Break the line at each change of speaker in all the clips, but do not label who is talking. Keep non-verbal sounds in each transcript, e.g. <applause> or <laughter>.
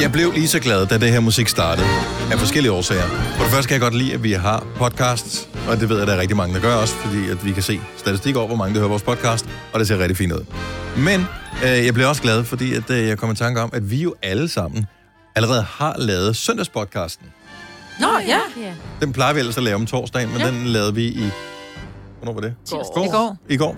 Jeg blev lige så glad, da det her musik startede. Af forskellige årsager. For det første kan jeg godt lide, at vi har podcasts. Og det ved jeg, at der er rigtig mange, der gør også. Fordi at vi kan se statistik over, hvor mange der hører vores podcast. Og det ser rigtig fint ud. Men øh, jeg blev også glad, fordi at, øh, jeg kom i tanke om, at vi jo alle sammen allerede har lavet søndagspodcasten.
Nå, ja.
Den plejer vi ellers at lave om torsdagen, men ja. den lavede vi i... Hvornår var det?
I går.
I går.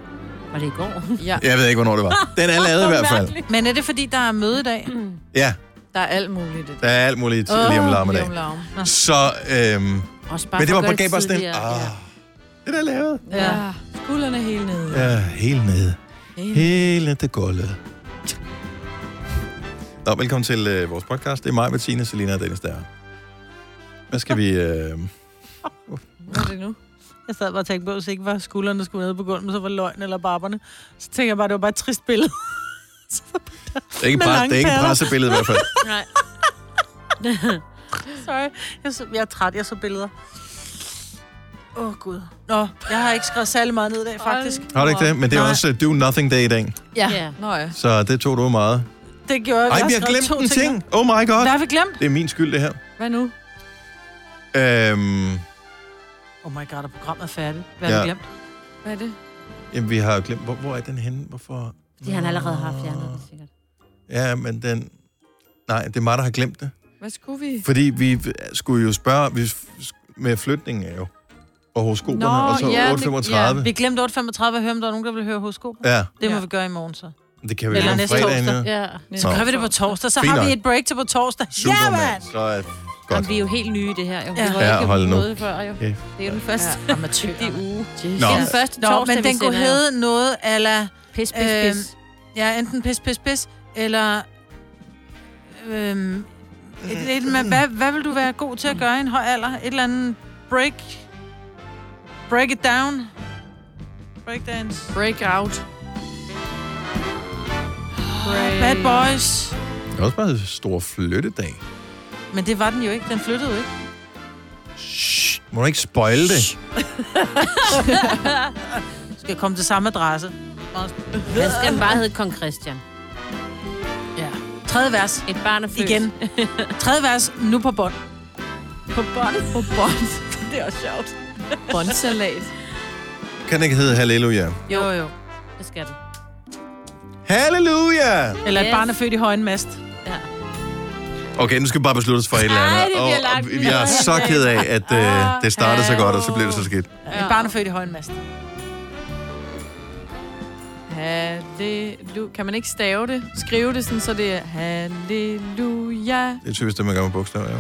Var det i går?
ja.
Jeg ved ikke, hvornår det var. Den er <laughs> lavet i hvert fald.
<laughs> Men er det, fordi der er møde i dag?
Ja,
Der er alt muligt i det.
der er alt muligt oh, lige om larmedag.
larm.
Så, øhm,
Også bare
men det
for
var
at
på
gøre
gav bare sådan en,
tidligere.
ah, det der er lavet.
Ja. Skuldrene helt nede.
Ja, helt nede.
Helt
Helt ned til gulvet. Nå, velkommen til øh, vores podcast. Det er mig, Bettine, Selina og Dennis der. er her. Hvad skal vi... Øh...
Hvad er det nu?
Jeg sad bare og tænkte på, hvis ikke var skuldrene, der skulle ned på gulvet, men så var løgn eller barberne. Så tænkte jeg bare, det var bare et trist billede. <laughs>
Det er ikke,
Med
pres,
lange
det er ikke et
patter.
pressebillede i hvert
<laughs>
fald.
Nej.
Sorry. Jeg, så, jeg er træt, jeg så billeder. Åh, oh, Gud. Nå, jeg har ikke skrevet særlig meget ned i dag, faktisk.
Har du ikke det? Men det er
Nej.
også øh, do nothing day i dag.
Ja.
Ja.
Nå ja.
Så det tog du meget.
Det gjorde jeg.
Ej,
har
vi har
skrevet to
glemt en
ting.
ting. Oh my god.
Hvad har vi glemt?
Det er min skyld, det her.
Hvad nu?
Øhm,
Oh my god, er programmet færdigt? Hvad har
Ja.
vi glemt?
Hvad er det?
jamen, vi har jo glemt... Hvor, hvor er den henne? Hvorfor?
Fordi han allerede har fjernet den sikkert.
Ja, men den... Nej, det er mig, der har glemt det.
Hvad skulle vi?
Fordi vi skulle jo spørge... Vi, sk- med flytningen er jo. Og horoskoperne,
Nå,
og så
ja, det-
835.
Vi glemte 8.35 at høre, om der var nogen, der ville høre hosko.
Ja, ja,
Det må
Ja.
vi gøre i morgen så.
det kan vi
Eller
jo om
næste
fredagen
torsdag.
nu.
Ja.
Så
Gør vi det på torsdag, så
Fint
har vi
nok.
et break til på torsdag.
Super,
Ja,
mand.
mand!
Så er
Jamen,
godt.
vi er jo helt nye i det her. Jo. Vi
Ja.
var
Ja,
ikke
hold nu.
noget før, jo.
Okay.
Det er jo den første.
Ja, amatører.
uge.
Nå.
Det er den første
Nå,
torsdag,
men den
vi
kunne
sender.
hedde noget, eller...
Pis, pis, pis.
Ja, enten pis, pis, pis, eller... Øhm, et, et, et, med, hvad, hvad vil du være god til at gøre i en høj alder? Et eller andet break... Break it down. Breakdance.
Breakout. Break.
Bad boys.
Det er også bare en stor flyttedag.
Men det var den jo ikke. Den
<laughs>
flyttede jo ikke.
Shh, må du ikke spoil det?
Du skal komme til samme adresse.
Den skal den bare hedde Kong Christian.
Ja. Tredje vers.
Et barn er født. <laughs>
Igen. <laughs> Tredje vers. Nu på bånd.
På bånd. På
<laughs>
bånd. det er også sjovt. Båndsalat.
Kan det ikke hedde halleluja?
Jo, jo.
Det skal den.
Halleluja!
Eller et
Yes.
barn er født i højen mast.
Ja.
Okay, nu skal vi bare beslutte os for et eller andet.
Ej, det bliver
og,
langt
og
ned.
jeg er så ked af, at øh, det startede så godt, og så blev det så skidt.
Ja. Et barn er født i højen mast.
Halleluja. Kan man ikke stave det? Skrive det sådan, så det er
<laughs>
halleluja.
Det er typisk det, man gør med bogstaver, ja.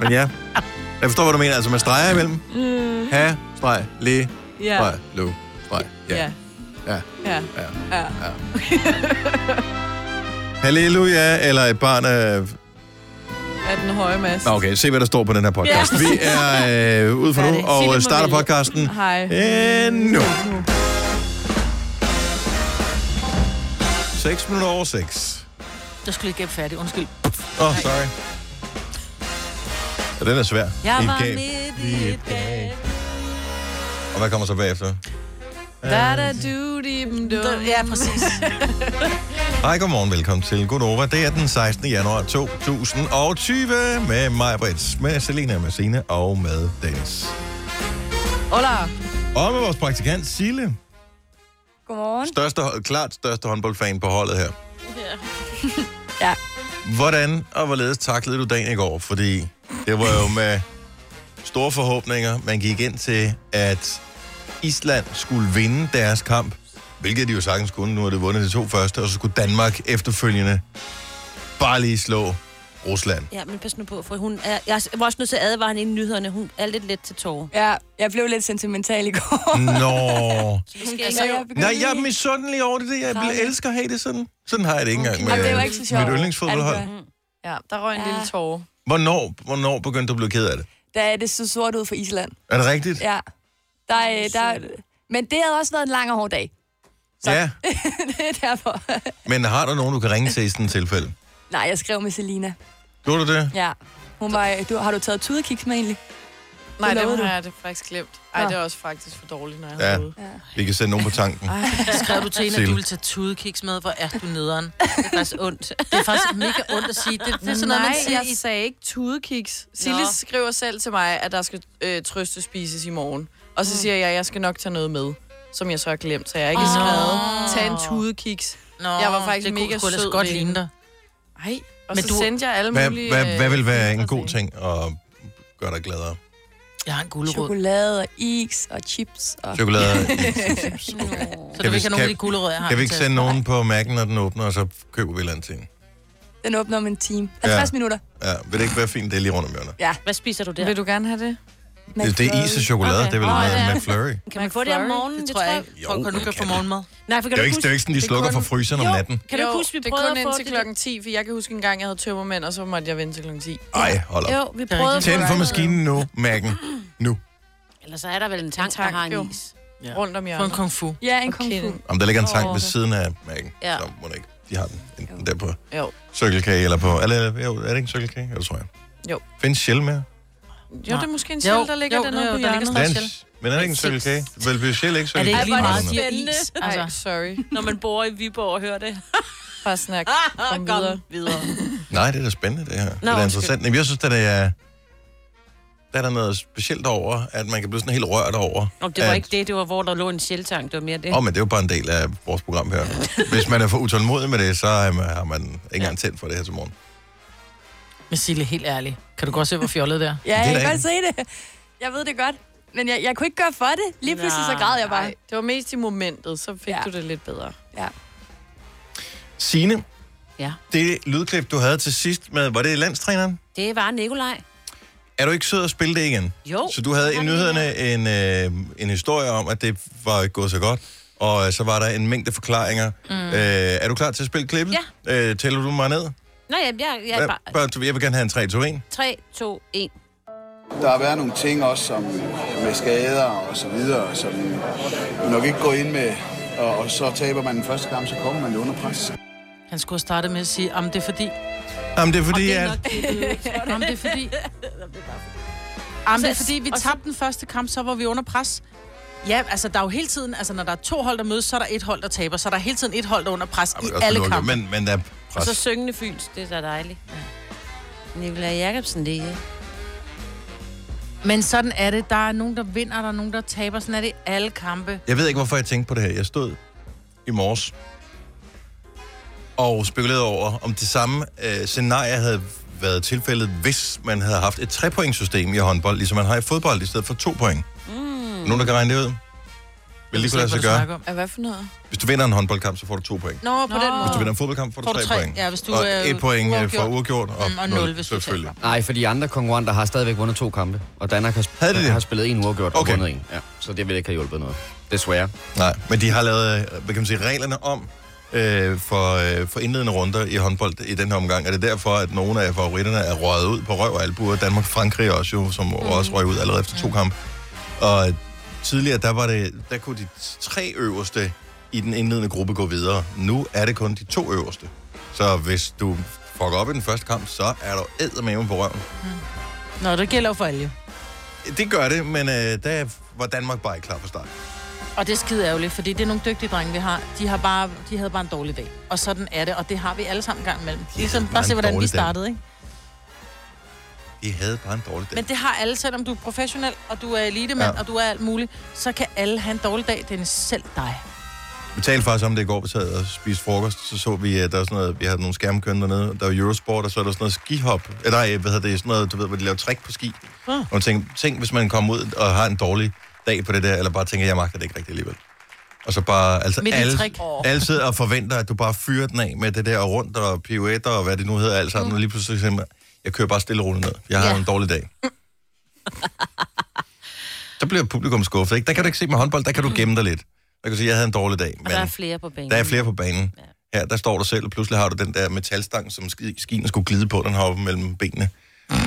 Men ja, jeg forstår, hvad du mener. Altså med streger imellem.
Mm.
Ha, streg, le,
Ja.
streg, lo, streg. Ja. Ja.
Ja.
Ja.
Ja.
Halleluja, eller et barn af...
Af den høje mast.
Nå, okay, se hvad der står på den her podcast. Vi er øh, ude for
Hvad er
nu,
det? Sig det,
og
må
øh, starter
vælge.
podcasten
Hej.
øh, nu. 6 minutter over 6.
Jeg skulle ikke gæbe færdig. Undskyld.
Åh, oh, sorry. Ja, den er svær.
Jeg
I et
var
gab.
midt
I
i
et
et
gab. Og hvad kommer så bagefter?
Da da du dim dum.
Ja, præcis.
Hej, godmorgen. Velkommen til Godova. Det er den 16. januar 2020 med mig, Brits, med Selina, med Sine og med Dennis.
Hola.
Og med vores praktikant, Sille.
Godmorgen.
Største, klart største håndboldfan på holdet her.
<laughs> Ja.
Hvordan og hvorledes taklede du dagen i går? Fordi det var jo med store forhåbninger, man gik ind til, at Island skulle vinde deres kamp, hvilket de jo sagtens kunne. Nu har de vundet de to første, og så skulle Danmark efterfølgende bare lige slå Rusland.
Ja, men pas nu på, for hun er... Jeg var også nødt til at advare hende i nyhederne. Hun er lidt let til tårer.
Ja, jeg blev lidt sentimental i går. <laughs>
Nå.
Altså, jeg begyndte
Nej, jeg er
lige-
misundelig over det. Jeg vil- elsker at have det sådan. Sådan har jeg det ikke engang med
Jamen, det var ikke så sjovt.
mit yndlingsfodboldhold.
Altså,
Ja, der røg en
Ja.
lille tårer.
Hvornår, hvornår begyndte du at blive ked af det?
Da er det så sort ud for Island.
Er det rigtigt?
Ja. Der, er, der, er- men det havde også været en lang og hård dag. <laughs> Så.
ja.
det er derfor.
Men har du nogen, du kan ringe til i sådan et tilfælde?
Nej, jeg skrev med Selina.
Gjorde du det?
Ja. Hun var, øh, du, har du taget tudekiks med egentlig?
Nej,
Det
dem
lovede
har jeg det faktisk glemt. Ej,
Nå.
det er også faktisk for dårligt, når jeg
Ja.
har hovedet.
Vi kan sætte nogen på tanken.
Skrev du til en, at
Sild.
du ville tage tudekiks med? Hvor er du <laughs> nederen?
Det er faktisk ondt.
Det er faktisk mega ondt at sige. Det, det er sådan noget,
Nej,
man siger
jeg
i...
sagde ikke tudekiks. Silly
Nå.
skriver selv til mig, at der skal øh, trøste spises i morgen. Og så siger jeg, at jeg skal nok tage noget med, som jeg så har glemt, så jeg har ikke
Åh.
oh. skrevet. Tag en tudekiks.
Nå,
jeg var faktisk
det kunne
mega
sgu ellers
sød
godt
ved
ligne
hende.
dig.
Ej, og
Men
så
du-
sendte jeg alle
Hvad,
mulige...
hvad, hvad vil være en
øh,
god ting at gøre dig gladere?
Jeg har en gulerod.
Chokolade og is og chips. Og... <laughs>
Chokolade?
Så
Kan
du
vi-
vil ikke have nogen af de
kan-
gulerødder, jeg har.
Kan
på
vi ikke
tasken?
sende nogen på mærken, når den åbner, og så køber vi et eller andet ting?
Den åbner om en time. 50
Ja.
ja. minutter.
Ja, vil det ikke være fint, det er lige rundt om hjørnet?
Hvad spiser du der?
Vil du gerne have det?
Det er is og chokolade,
Okay.
det er vel
Åh, ja.
oh, McFlurry.
Kan man få det om
McFlurry?
morgenen?
Det tror jeg ikke.
Jo,
Tror du, du
man
kan få
kan.
morgenmad?
Nej, for kan
Det er
du
jo ikke,
huske...
det er jo ikke sådan, de slukker for fryseren om
Jo,
natten.
Kan du ikke huske, vi
det er
prøvede
kun
at få
indtil
det? der-
klokken 10, for jeg kan huske en gang, jeg havde tømmermænd, og så måtte jeg vente til klokken 10.
Ej, hold op.
Jo, vi prøvede at få
Tænd for
det.
maskinen nu, Mærken. Nu.
Eller så er der vel en tank,
tank,
der har en
jo.
is.
Ja.
Rundt om
Få en
hjørnet.
kung fu.
Ja, en
Og
kung fu.
kende.
Om der ligger en tank
Åh,
ved
det-
siden af Mærken,
Ja.
så må det ikke. De har den enten der på
Jo.
Circle K eller på... Eller, jo, er det ikke Circle K? Jo, det tror jeg.
Jo.
Findes Shell med?
Jo, det er måske en sjæl, der ligger
jo,
den
jo,
nede på
der ligger
hjørnet.
sådan-
Den,
Shell.
men er det ikke en Circle K? Vel, bliver Shell ikke
Er det
Circle
ikke
K?
lige meget,
Ej,
siger is? Altså,
Ej, sorry.
Når man bor i Viborg og hører det.
<laughs>
Ah,
Bare snak.
Kom
Kom
videre.
videre.
videre.
Nej, det er da spændende, det her. det er da
undskyld.
interessant. Jamen, jeg synes, at det er... Der er der noget specielt over, at man kan blive sådan helt rørt over.
Om det var
at-
ikke det, det var, hvor der lå en sjeltank. Det var mere det.
Åh, oh, men det er jo bare en del af vores program her. Hvis man er for utålmodig med det, så er man, har man ikke engang tændt for det her til morgen.
men Sille, helt ærligt. Kan du godt se, hvor fjollet det er?
Ja,
da
jeg kan
ikke-
godt se det. Jeg ved det godt. Men jeg, jeg kunne ikke gøre for det. Lige pludselig så græd jeg bare.
Nej, det var mest i momentet, så fik
Ja.
ja. du det lidt bedre. Mm.
Signe,
Ja.
det lydklip, du havde til sidst med, var det landstræneren?
Det var Nikolaj.
Er du ikke sød at spille det igen?
Jo.
Så du havde i
det
nyhederne en, øh, en historie om, at det var ikke gået så godt, og øh, så var der en mængde forklaringer. Mm. Øh, er du klar til at spille klippet? Ja. Øh, tæller du mig ned?
Nå, jeg, jeg, jeg,
Jeg,
bare...
jeg vil gerne have en 3, 2, 1.
3, 2, 1.
Der har været nogle ting også som med skader og så videre, som nok ikke går ind med, og, og så taber man den første kamp, så kommer man jo under pres.
Han skulle have startet med at sige, om det er fordi,
Jamen, det er fordi,
Det er
at...
nok det, det
<laughs>
er.
Jamen, det er fordi... Jamen, det er fordi, vi tabte den første kamp, så var vi under pres. Ja, altså der er jo hele tiden, altså når der er to hold, der mødes, så er der et hold, der taber, så er der hele tiden et hold, der er under pres
Ej,
i
men også
alle
lukket,
kampe.
Men, men der altså, er
Og
pres.
så syngende fyns. Det er da dejligt. Nikolaj Jacobsen, det er...
Men sådan er det. Der er nogen, der vinder, og der er nogen, der taber. Sådan er det i alle kampe.
Jeg ved ikke, hvorfor jeg tænkte på det her. Jeg stod i morges og spekulerede over, om det samme øh, scenarie havde været tilfældet, hvis man havde haft et trepointsystem i håndbold, ligesom man har i fodbold, i stedet for to point. Mm. Nogen, der kan regne det ud? Vil lige kunne lade sig gøre.
Er hvad for noget?
Hvis du vinder en håndboldkamp, så får du to point.
Nå, på Nå. den
Hvis du
måde.
vinder en fodboldkamp, får du
Får du
tre
tre,
point.
ja, hvis du,
og
øh,
et point øh, for
uafgjort.
uregjort, og,
Mm, og nul, hvis du
selvfølgelig.
Nej, for de andre konkurrenter har stadigvæk vundet to kampe, og Danmark har, sp-
Havde de det?
har spillet en uafgjort
Okay.
og vundet en. Ja, så det ville ikke have hjulpet noget. Desværre.
Nej, men de har lavet, øh, hvad kan man sige, reglerne om øh, for, øh, for indledende runder i håndbold i den her omgang. Er det derfor, at nogle af favoritterne er røget ud på røv og albuer? Danmark Frankrig også jo, som mm. også røg ud allerede efter
Mm.
to kampe. Og tidligere, der, var det, der kunne de tre øverste i den indledende gruppe gå videre. Nu er det kun de to øverste. Så hvis du fucker op i den første kamp, så er du eddermame på røven.
Nå, det gælder jo for alle.
Det gør det, men øh, der var Danmark bare ikke klar fra start.
Og det er skide ærgerligt, fordi det er nogle dygtige drenge, vi har. De, har bare, de havde bare en dårlig dag. Og sådan er det, og det har vi alle sammen en gang imellem. Ligesom,
bare
bare
en
se, hvordan vi
dårlig dag.
startede, ikke?
De havde bare en dårlig dag.
Men det har alle, selvom du er professionel, og du er elitemand,
Ja.
ja. og du er alt muligt, så kan alle have en dårlig dag. Det er selv dig.
Vi talte faktisk om det i går, vi sad og spiste frokost, så så vi, at der er sådan noget, vi havde nogle skærme kørende dernede, der var Eurosport, og så er der sådan noget skihop, eller nej, hvad hedder det, sådan noget, du ved, hvor de laver trick på ski.
Ah.
Og jeg tænkte, tænk, hvis man kommer ud og har en dårlig dag på det der, eller bare tænker, jeg magter det ikke rigtigt alligevel. Og så bare, altså
Midt i
alle,
trick.
alle sidder og forventer, at du bare fyrer den af med det der og rundt og pirouetter og hvad det nu hedder alt sammen, mm. og lige pludselig siger man, jeg kører bare stille og roligt ned, jeg har
Ja.
en dårlig dag. så bliver publikum skuffet, ikke? Der kan du ikke se med håndbold, der kan du gemme dig lidt. Der kan du sige, jeg havde en dårlig dag.
Og der er flere på banen.
Der er flere på banen. Ja. Her, der står du selv, og pludselig har du den der metalstang, som ski- skien skulle glide på, den har oppe mellem benene.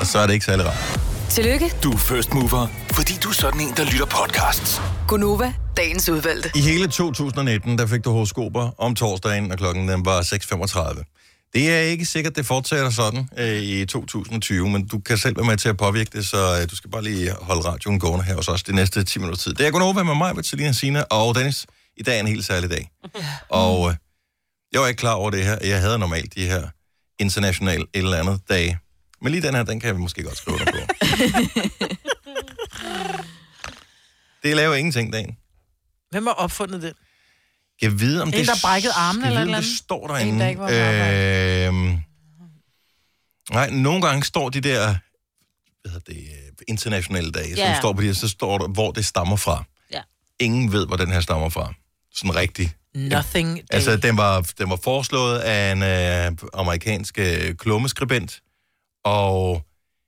Og så er det ikke særlig rart.
Tillykke,
Du er first mover, fordi du er sådan en, der lytter podcasts.
Gunova, dagens udvalgte.
I hele 2019, der fik du horoskoper om torsdagen, og klokken den var 6.35. Det er ikke sikkert, det fortsætter sådan øh, i 2020, men du kan selv være med til at påvirke det, så øh, du skal bare lige holde radioen gående her hos os de næste 10 minutter tid. Det er Gunova med mig, med Selina Sina og Dennis. I dag er en helt særlig dag. Og øh, jeg var ikke klar over det her. Jeg havde normalt de her internationale et eller andet dage. Men lige den her, den kan jeg måske godt skrive under på. det laver ingenting dagen.
Hvem har opfundet det?
Jeg ved, om
En,
det...
der brækkede armen
jeg
eller
ved,
et eller
om
andet?
det står Øh,
En, der ikke var på
derinde. Øhm, nej, nogle gange står de der hvad hedder det, øh, internationale dage,
Ja.
som står på de her, så står der, hvor det stammer fra.
Ja.
Ingen ved, hvor den her stammer fra. Sådan rigtigt.
Nothing day.
Altså, den var, den var foreslået af en øh, amerikansk øh, klummeskribent, og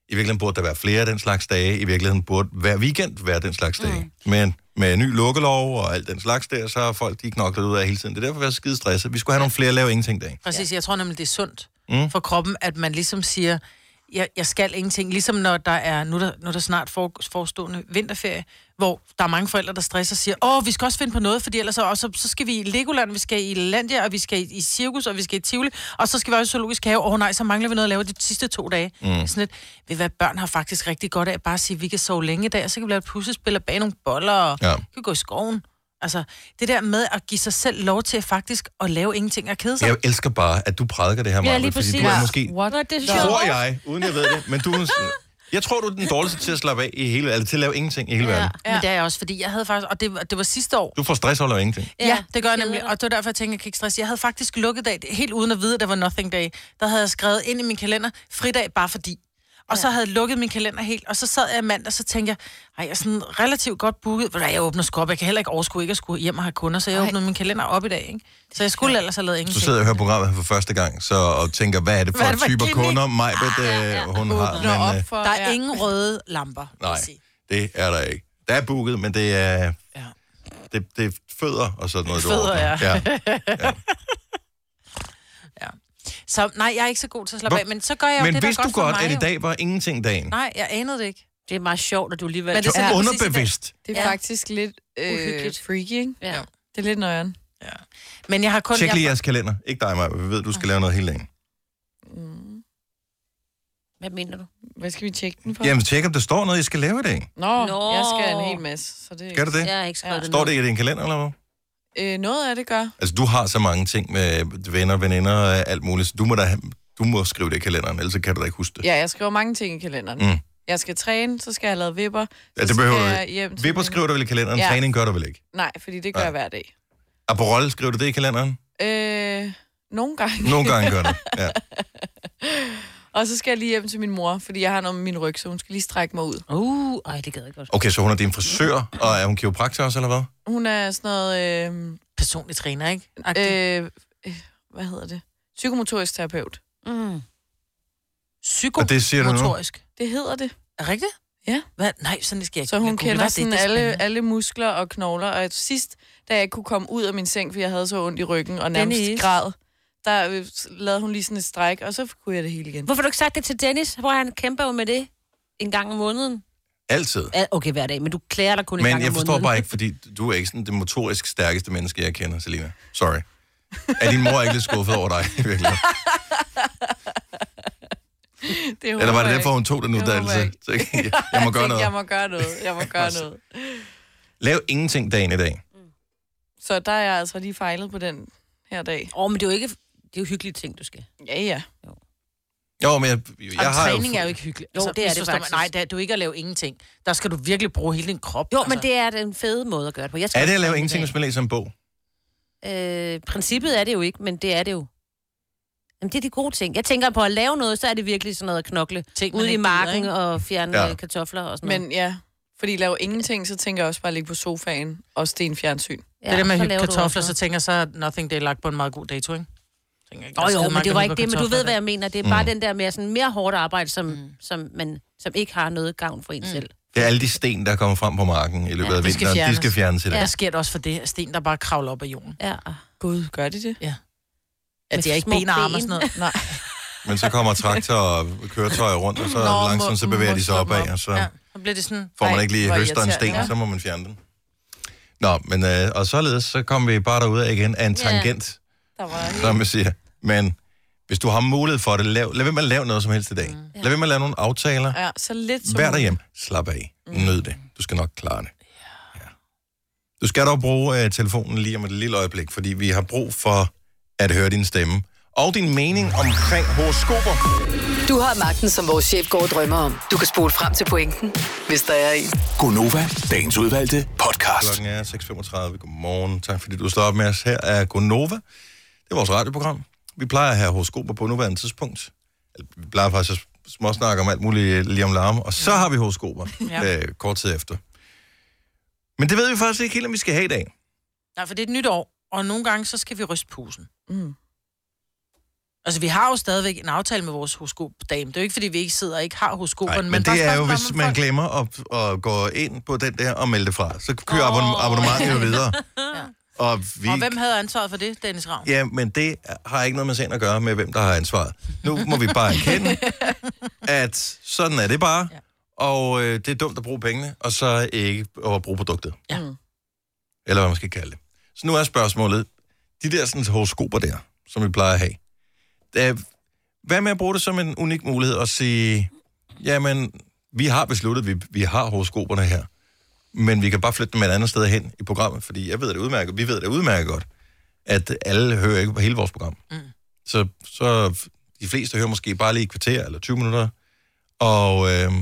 i virkeligheden burde der være flere af den slags dage. I virkeligheden burde hver weekend være den slags dage. Mm. Men med ny lukkelov og alt den slags der, så er folk de knoklet ud af hele tiden. Det er derfor, vi er så skide stresset. Vi skulle have nogle flere lave ingenting dage.
Præcis, jeg tror nemlig, det er sundt
Mm.
mm. for kroppen, at man ligesom siger, jeg, jeg skal ingenting. Ligesom når der er, nu er der, nu er der snart for, forestående vinterferie, hvor der er mange forældre, der stresser og siger, åh, vi skal også finde på noget, fordi ellers så, og så, så skal vi i Legoland, vi skal i Landia, og vi skal i, i Cirkus, og vi skal i Tivoli, og så skal vi også i Zoologisk Have. Åh nej, så mangler vi noget at lave de sidste to dage. Mm. Sådan et, ved hvad, børn har faktisk rigtig godt af at bare sige, vi kan sove længe i dag, og så kan vi lave et puslespil og bage nogle boller, og <laughs>
Ja.
ja. kan gå i skoven. Altså, det der med at give sig selv lov til faktisk at lave ingenting og kede sig.
Jeg elsker bare, at du prædiker det her,
Ja,
Maja,
lige
fordi
præcis.
du er
Ja.
måske
What? Nå, det er sjovt.
tror jeg, uden jeg ved det, men du er sådan- jeg tror, du er den dårligste til at slappe af i hele eller til at lave ingenting i hele verden.
Ja. Men det er jeg også, fordi jeg havde faktisk... Og det, det var sidste år.
Du får stress over at lave ingenting.
Ja, ja det gør jeg nemlig. Og det var derfor, jeg tænkte, jeg kan ikke stresse. Jeg havde faktisk lukket dag, helt uden at vide, at der var nothing day. Der havde jeg skrevet ind i min kalender, fridag bare fordi. Og så havde jeg lukket min kalender helt, og så sad jeg mandag, og så tænkte jeg, ej, jeg er sådan relativt godt booket. Ved du hvad, Jeg åbner sgu op, jeg kan heller ikke overskue ikke at skulle hjem og have kunder, så jeg
Ej.
åbnede min kalender op i dag, ikke? Så jeg skulle ellers have lavet
Så
ingenting.
sidder jeg og hører programmet her for første gang, så, og tænker, hvad er det for
Hvad er det for Ah,
typer
gimmick?
kunder, Majbet, øh, hun har.
Åbner op
Men, øh,
for...
Der er ingen røde lamper, vil jeg
nej,
sige.
det er der ikke. Der er booket, men det er...
Ja.
Det, det er fødder og sådan noget. du
Fødder,
ordner.
ja. <laughs>
ja.
Så nej, jeg er ikke så god til at slappe
Hvor-
af, men så gør jeg jo
Men
det, der er
vidste du
for
godt,
mig,
at i
jo.
dag var ingenting dagen?
Nej, jeg anede det ikke.
Det er meget sjovt, at du alligevel...
Men
Det
det
er
er præcis i dag.
underbevidst.
Det er
Ja.
faktisk lidt øh,
Uhyggeligt.
freaky, ikke?
Ja.
Det er lidt nøjeren.
Men jeg har kun...
Tjek
jeg-
lige jeres kalender. Ikke dig, Maja. Vi ved, du skal lave noget helt længe.
Mm. Hvad mener du?
Hvad skal vi tjekke den for?
Jamen, tjek, om der står noget, I skal lave i dag.
Nå,
Nå.
Nå, jeg skal en hel masse. Så det er
Gør det det?
Jeg har ikke skrevet
Ja.
det
Står
ned.
det i din kalender, eller hvad?
Øh, noget af det gør.
Altså, du har så mange ting med venner, veninder og alt muligt, så du må, da, have- du må skrive det i kalenderen, ellers så kan du da ikke huske det.
Ja, jeg skriver mange ting i kalenderen.
Mm.
Mm. Jeg skal træne, så skal jeg have lavet vipper. Så
Ja, Altså, det behøver
skal
du
jeg hjem til
Vipper
min-
skriver du vel i kalenderen,
Ja.
træning gør du vel ikke?
Nej, fordi det gør
Nej.
jeg hver dag.
Aperol, skriver du det i kalenderen?
Øh, nogle gange.
Nogle gange gør du.
<laughs>
Ja.
Og så skal jeg lige hjem til min mor, fordi jeg har noget med min ryg, så hun skal lige strække mig ud.
Uh, ej, det gad jeg ikke godt.
Okay, så hun er din frisør, og er hun kiropraktor også, eller hvad?
Hun er sådan noget... Øh,
personlig træner, ikke? Øh,
øh, øh, hvad hedder det? Psykomotorisk terapeut.
Mm.
Og det siger du nu?
psykomotorisk.
Det hedder det.
Er rigtigt?
Ja.
Hvad? Nej, sådan det skal jeg ikke.
Så hun
Jeg googler
kender
det,
sådan
det er
alle,
spændende.
alle muskler og knogler. Og sidst, da jeg ikke kunne komme ud af min seng, fordi jeg havde så ondt i ryggen og nærmest
Dennis.
græd, der øh, lavede hun lige sådan et stræk, og så kunne jeg det hele igen.
Hvorfor har du ikke sagt det til Dennis? Hvor han kæmper jo med det en gang om måneden.
Altid.
Ja, Okay, hver dag, men du klæder dig kun en
Men
gang
jeg
om
forstår
måneden.
bare ikke, fordi du er ikke sådan det motorisk stærkeste menneske, jeg kender, Selina. Sorry. Er din mor ikke lidt skuffet over dig, virkelig?
Det
Eller var
håber
det
jeg
derfor, hun tog den
Det håber jeg
uddannelse?
ikke.
Så jeg, jeg
<laughs>
må
Jeg
gøre
tænkte, Jeg
noget.
må gøre noget. Jeg må <laughs> gøre noget.
Lav ingenting dagen i dag.
Så der er jeg altså lige fejlet på den her dag.
Åh, oh, men det er jo ikke... Det er jo hyggelige ting, du skal.
Ja, ja.
Jo, men jeg, jeg
Jamen,
har jo...
træning er jo ikke hyggeligt.
Jo, det er det
misforstå mig.
faktisk.
Nej, det er, du er ikke at lave ingenting. Der skal du virkelig bruge hele din krop.
Jo, altså. men det er den fede måde at gøre det på. Jeg skal
Er det at
også
lave
træne i
ingenting, hvis man læser en bog?
dag. Øh, princippet er det jo ikke, men det er det jo. Jamen, det er de gode ting. Jeg tænker på at lave noget, så er det virkelig sådan noget at knokle.
ting, man
Ude i
ikke gider,
marken
ikke?
og fjerne øh,
Ja.
øh,
ja. kartofler og sådan noget.
Men ja, fordi laver ingenting, så tænker jeg også bare at ligge på sofaen og sten fjernsyn.
Ja,
det der med
så
at hygge
laver du
kartofler,
også
så
noget.
tænker jeg så, at nothing day er lagt på en meget god dato, ikke? Tænker ikke, der
Åh
er
oh,
Altså,
skide
jo, men
mange,
det
der
var
hygger
ikke det, men du
kartofler
ved, hvad
der.
jeg mener. Det er
Mm.
bare den der med sådan mere hårdt arbejde, som, mm. som, man, som ikke har noget gavn for en mm. selv.
Det er alle de sten, der kommer frem på marken i løbet
Ja,
af
de skal
vinteren. De
fjernes.
skal fjernes i dag.
Der sker det også for det, at sten, der bare kravler op af jorden.
Ja.
Gud, gør de det?
Ja,
Med
de er ikke
små
ben og arme og
ben.
sådan noget.
<laughs>
Nej.
Men så kommer traktor og køretøjer rundt, og så
Nå,
langsomt så
må-
bevæger
må
de sig
slå
opad,
dem op.
og så
Ja, så bliver det sådan...
får man
Ej,
ikke lige
hvor
høster en sten,
irriterende.
så må man fjerne den. Nå, men øh, og således, så kom vi bare derud af igen af en
Ja.
tangent,
Der var
som vi siger. Men Hvis du har mulighed for det, lav, lad være med at lave noget som helst i dag. Mm. Lad være med at lave nogle aftaler.
Ja, så lidt som...
Vær derhjemme. Slap af. Nyd det. Du skal nok klare det. Mm. Ja. Du skal dog bruge uh, telefonen lige om et lille øjeblik, fordi vi har brug for at høre din stemme. Og din mening omkring horoskoper.
Du har magten, som vores chef går og drømmer om. Du kan spole frem til pointen, hvis der er en.
Gonova, dagens udvalgte podcast.
Klokken er 6.35. Godmorgen. Tak fordi du står op med os. Her er Gonova. Det er vores radioprogram. Vi plejer at have horoskoper på nuværende tidspunkt. Eller, Vi plejer faktisk at småsnakke om alt muligt øh, lige om larm. Og så har vi horoskoper
Ja.
ja. øh, kort tid efter. Men det ved vi faktisk ikke helt, om vi skal have i dag.
Nej, for det er et nyt år, og nogle gange, så skal vi ryste posen. Mm. Altså, vi har jo stadigvæk en aftale med vores horoskopdame. Det er jo ikke, fordi vi ikke sidder og ikke har horoskoperne.
Nej, men, men
bare
det er
snakker
jo,
om,
hvis
at
man
folk-
glemmer at, at gå ind på den der og melde det fra. Så kører oh. abonnementet jo
<laughs>
videre.
Ja.
Og vi...
Og hvem havde ansvaret for det? Dennis Ravn.
Ja, men det har ikke noget med sagen at gøre med, hvem der har ansvaret. Nu må vi bare
<laughs>
erkende, at sådan er det bare. Og øh, det er dumt at bruge pengene, og så ikke at bruge produktet.
Ja.
Eller hvad man skal kalde det. Så nu er spørgsmålet, de der sådan, horoskoper der, som vi plejer at have. Øh, hvad med at bruge det som en unik mulighed at sige, jamen, vi har besluttet, vi, vi har horoskoperne her, men vi kan bare flytte dem et andet sted hen i programmet, fordi jeg ved det udmærket, vi ved det udmærket godt, at alle hører ikke på hele vores program. Mm. Så, så de fleste hører måske bare lige et kvarter eller 20 minutter, og øh,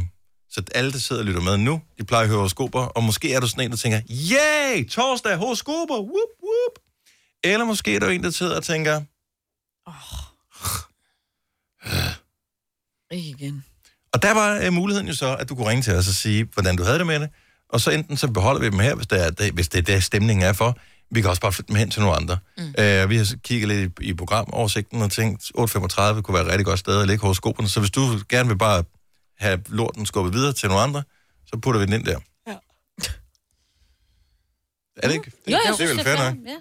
så alle, der sidder og lytter med nu, de plejer at høre horoskoper, og måske er du sådan en, der tænker, yay, torsdag, horoskoper, whoop, whoop. Eller måske er du en, der sidder og tænker,
Ikke igen.
Og der var øh, muligheden jo så, at du kunne ringe til os og sige, hvordan du havde det med det, og så enten så beholder vi dem her, hvis det er det, hvis det, er det stemningen er for. Vi kan også bare flytte dem hen til nogle andre. Mm. Øh, vi har så kigget lidt i, i programoversigten og tænkt, 8.35 kunne være et rigtig godt sted at lægge horoskoperne, så hvis du gerne vil bare have lorten skubbet videre til nogle andre, så putter vi den ind der. Ja. Er det ikke? Det,
Jo,
det
jeg
er
synes,
vel
det er
fair nok.
fair. Ja.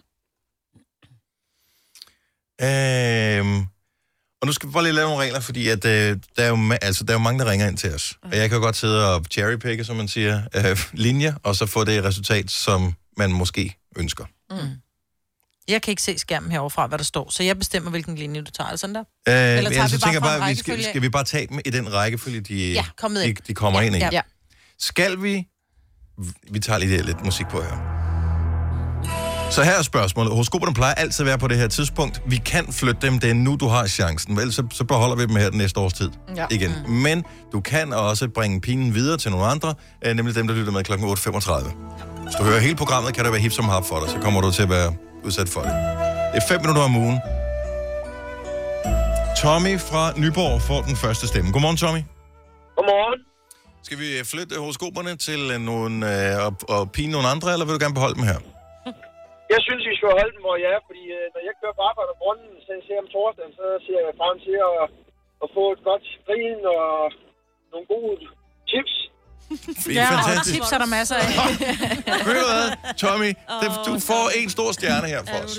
Øhm, og nu skal vi bare lige lave nogle regler, fordi at, øh, der, er jo ma- altså, der er jo mange, der ringer ind til os. Og jeg kan jo godt sidde og cherrypicke, som man siger, øh, linjer, og så få det resultat, som man måske ønsker. Øh,
Mm. Jeg kan ikke se skærmen heroverfra, hvad der står, så jeg bestemmer, hvilken linje du tager. Er det sådan der?
Øh,
Eller
men
tager
altså,
vi bare
tænker
fra en
bare, vi skal,
rækkefølge?
skal vi bare tage dem i den rækkefølge, de,
Ja, kom med
de,
ind.
de kommer ind i?
Ja. ja.
Skal vi... Vi tager lige lidt musik på her. Så her er spørgsmålet. Horoskoperne plejer altid at være på det her tidspunkt. Vi kan flytte dem, det er nu, du har chancen. Vel, så, så beholder vi dem her den næste års tid
Ja.
igen. Men du kan også bringe pinen videre til nogle andre, øh, nemlig dem, der lytter med kl. 8.35. Hvis du hører hele programmet, kan det være hip som hap for dig, så kommer du til at være udsat for det. Det er 5 minutter om ugen. Tommy fra Nyborg får den første stemme. Godmorgen, Tommy.
Godmorgen.
Skal vi øh, flytte horoskoperne til øh, nogle, øh, og, og pine nogle andre, eller vil du gerne beholde dem her?
Jeg synes, vi skal holde dem, hvor jeg er, fordi øh, når jeg kører på arbejde om morgenen, så jeg ser om torsdagen, så ser jeg frem til at, at få et godt grin og nogle gode tips.
Ja, og tips er der masser af.
<laughs> Ved du
<laughs>
hvad, Tommy? <laughs> Det, du får en stor stjerne her for os.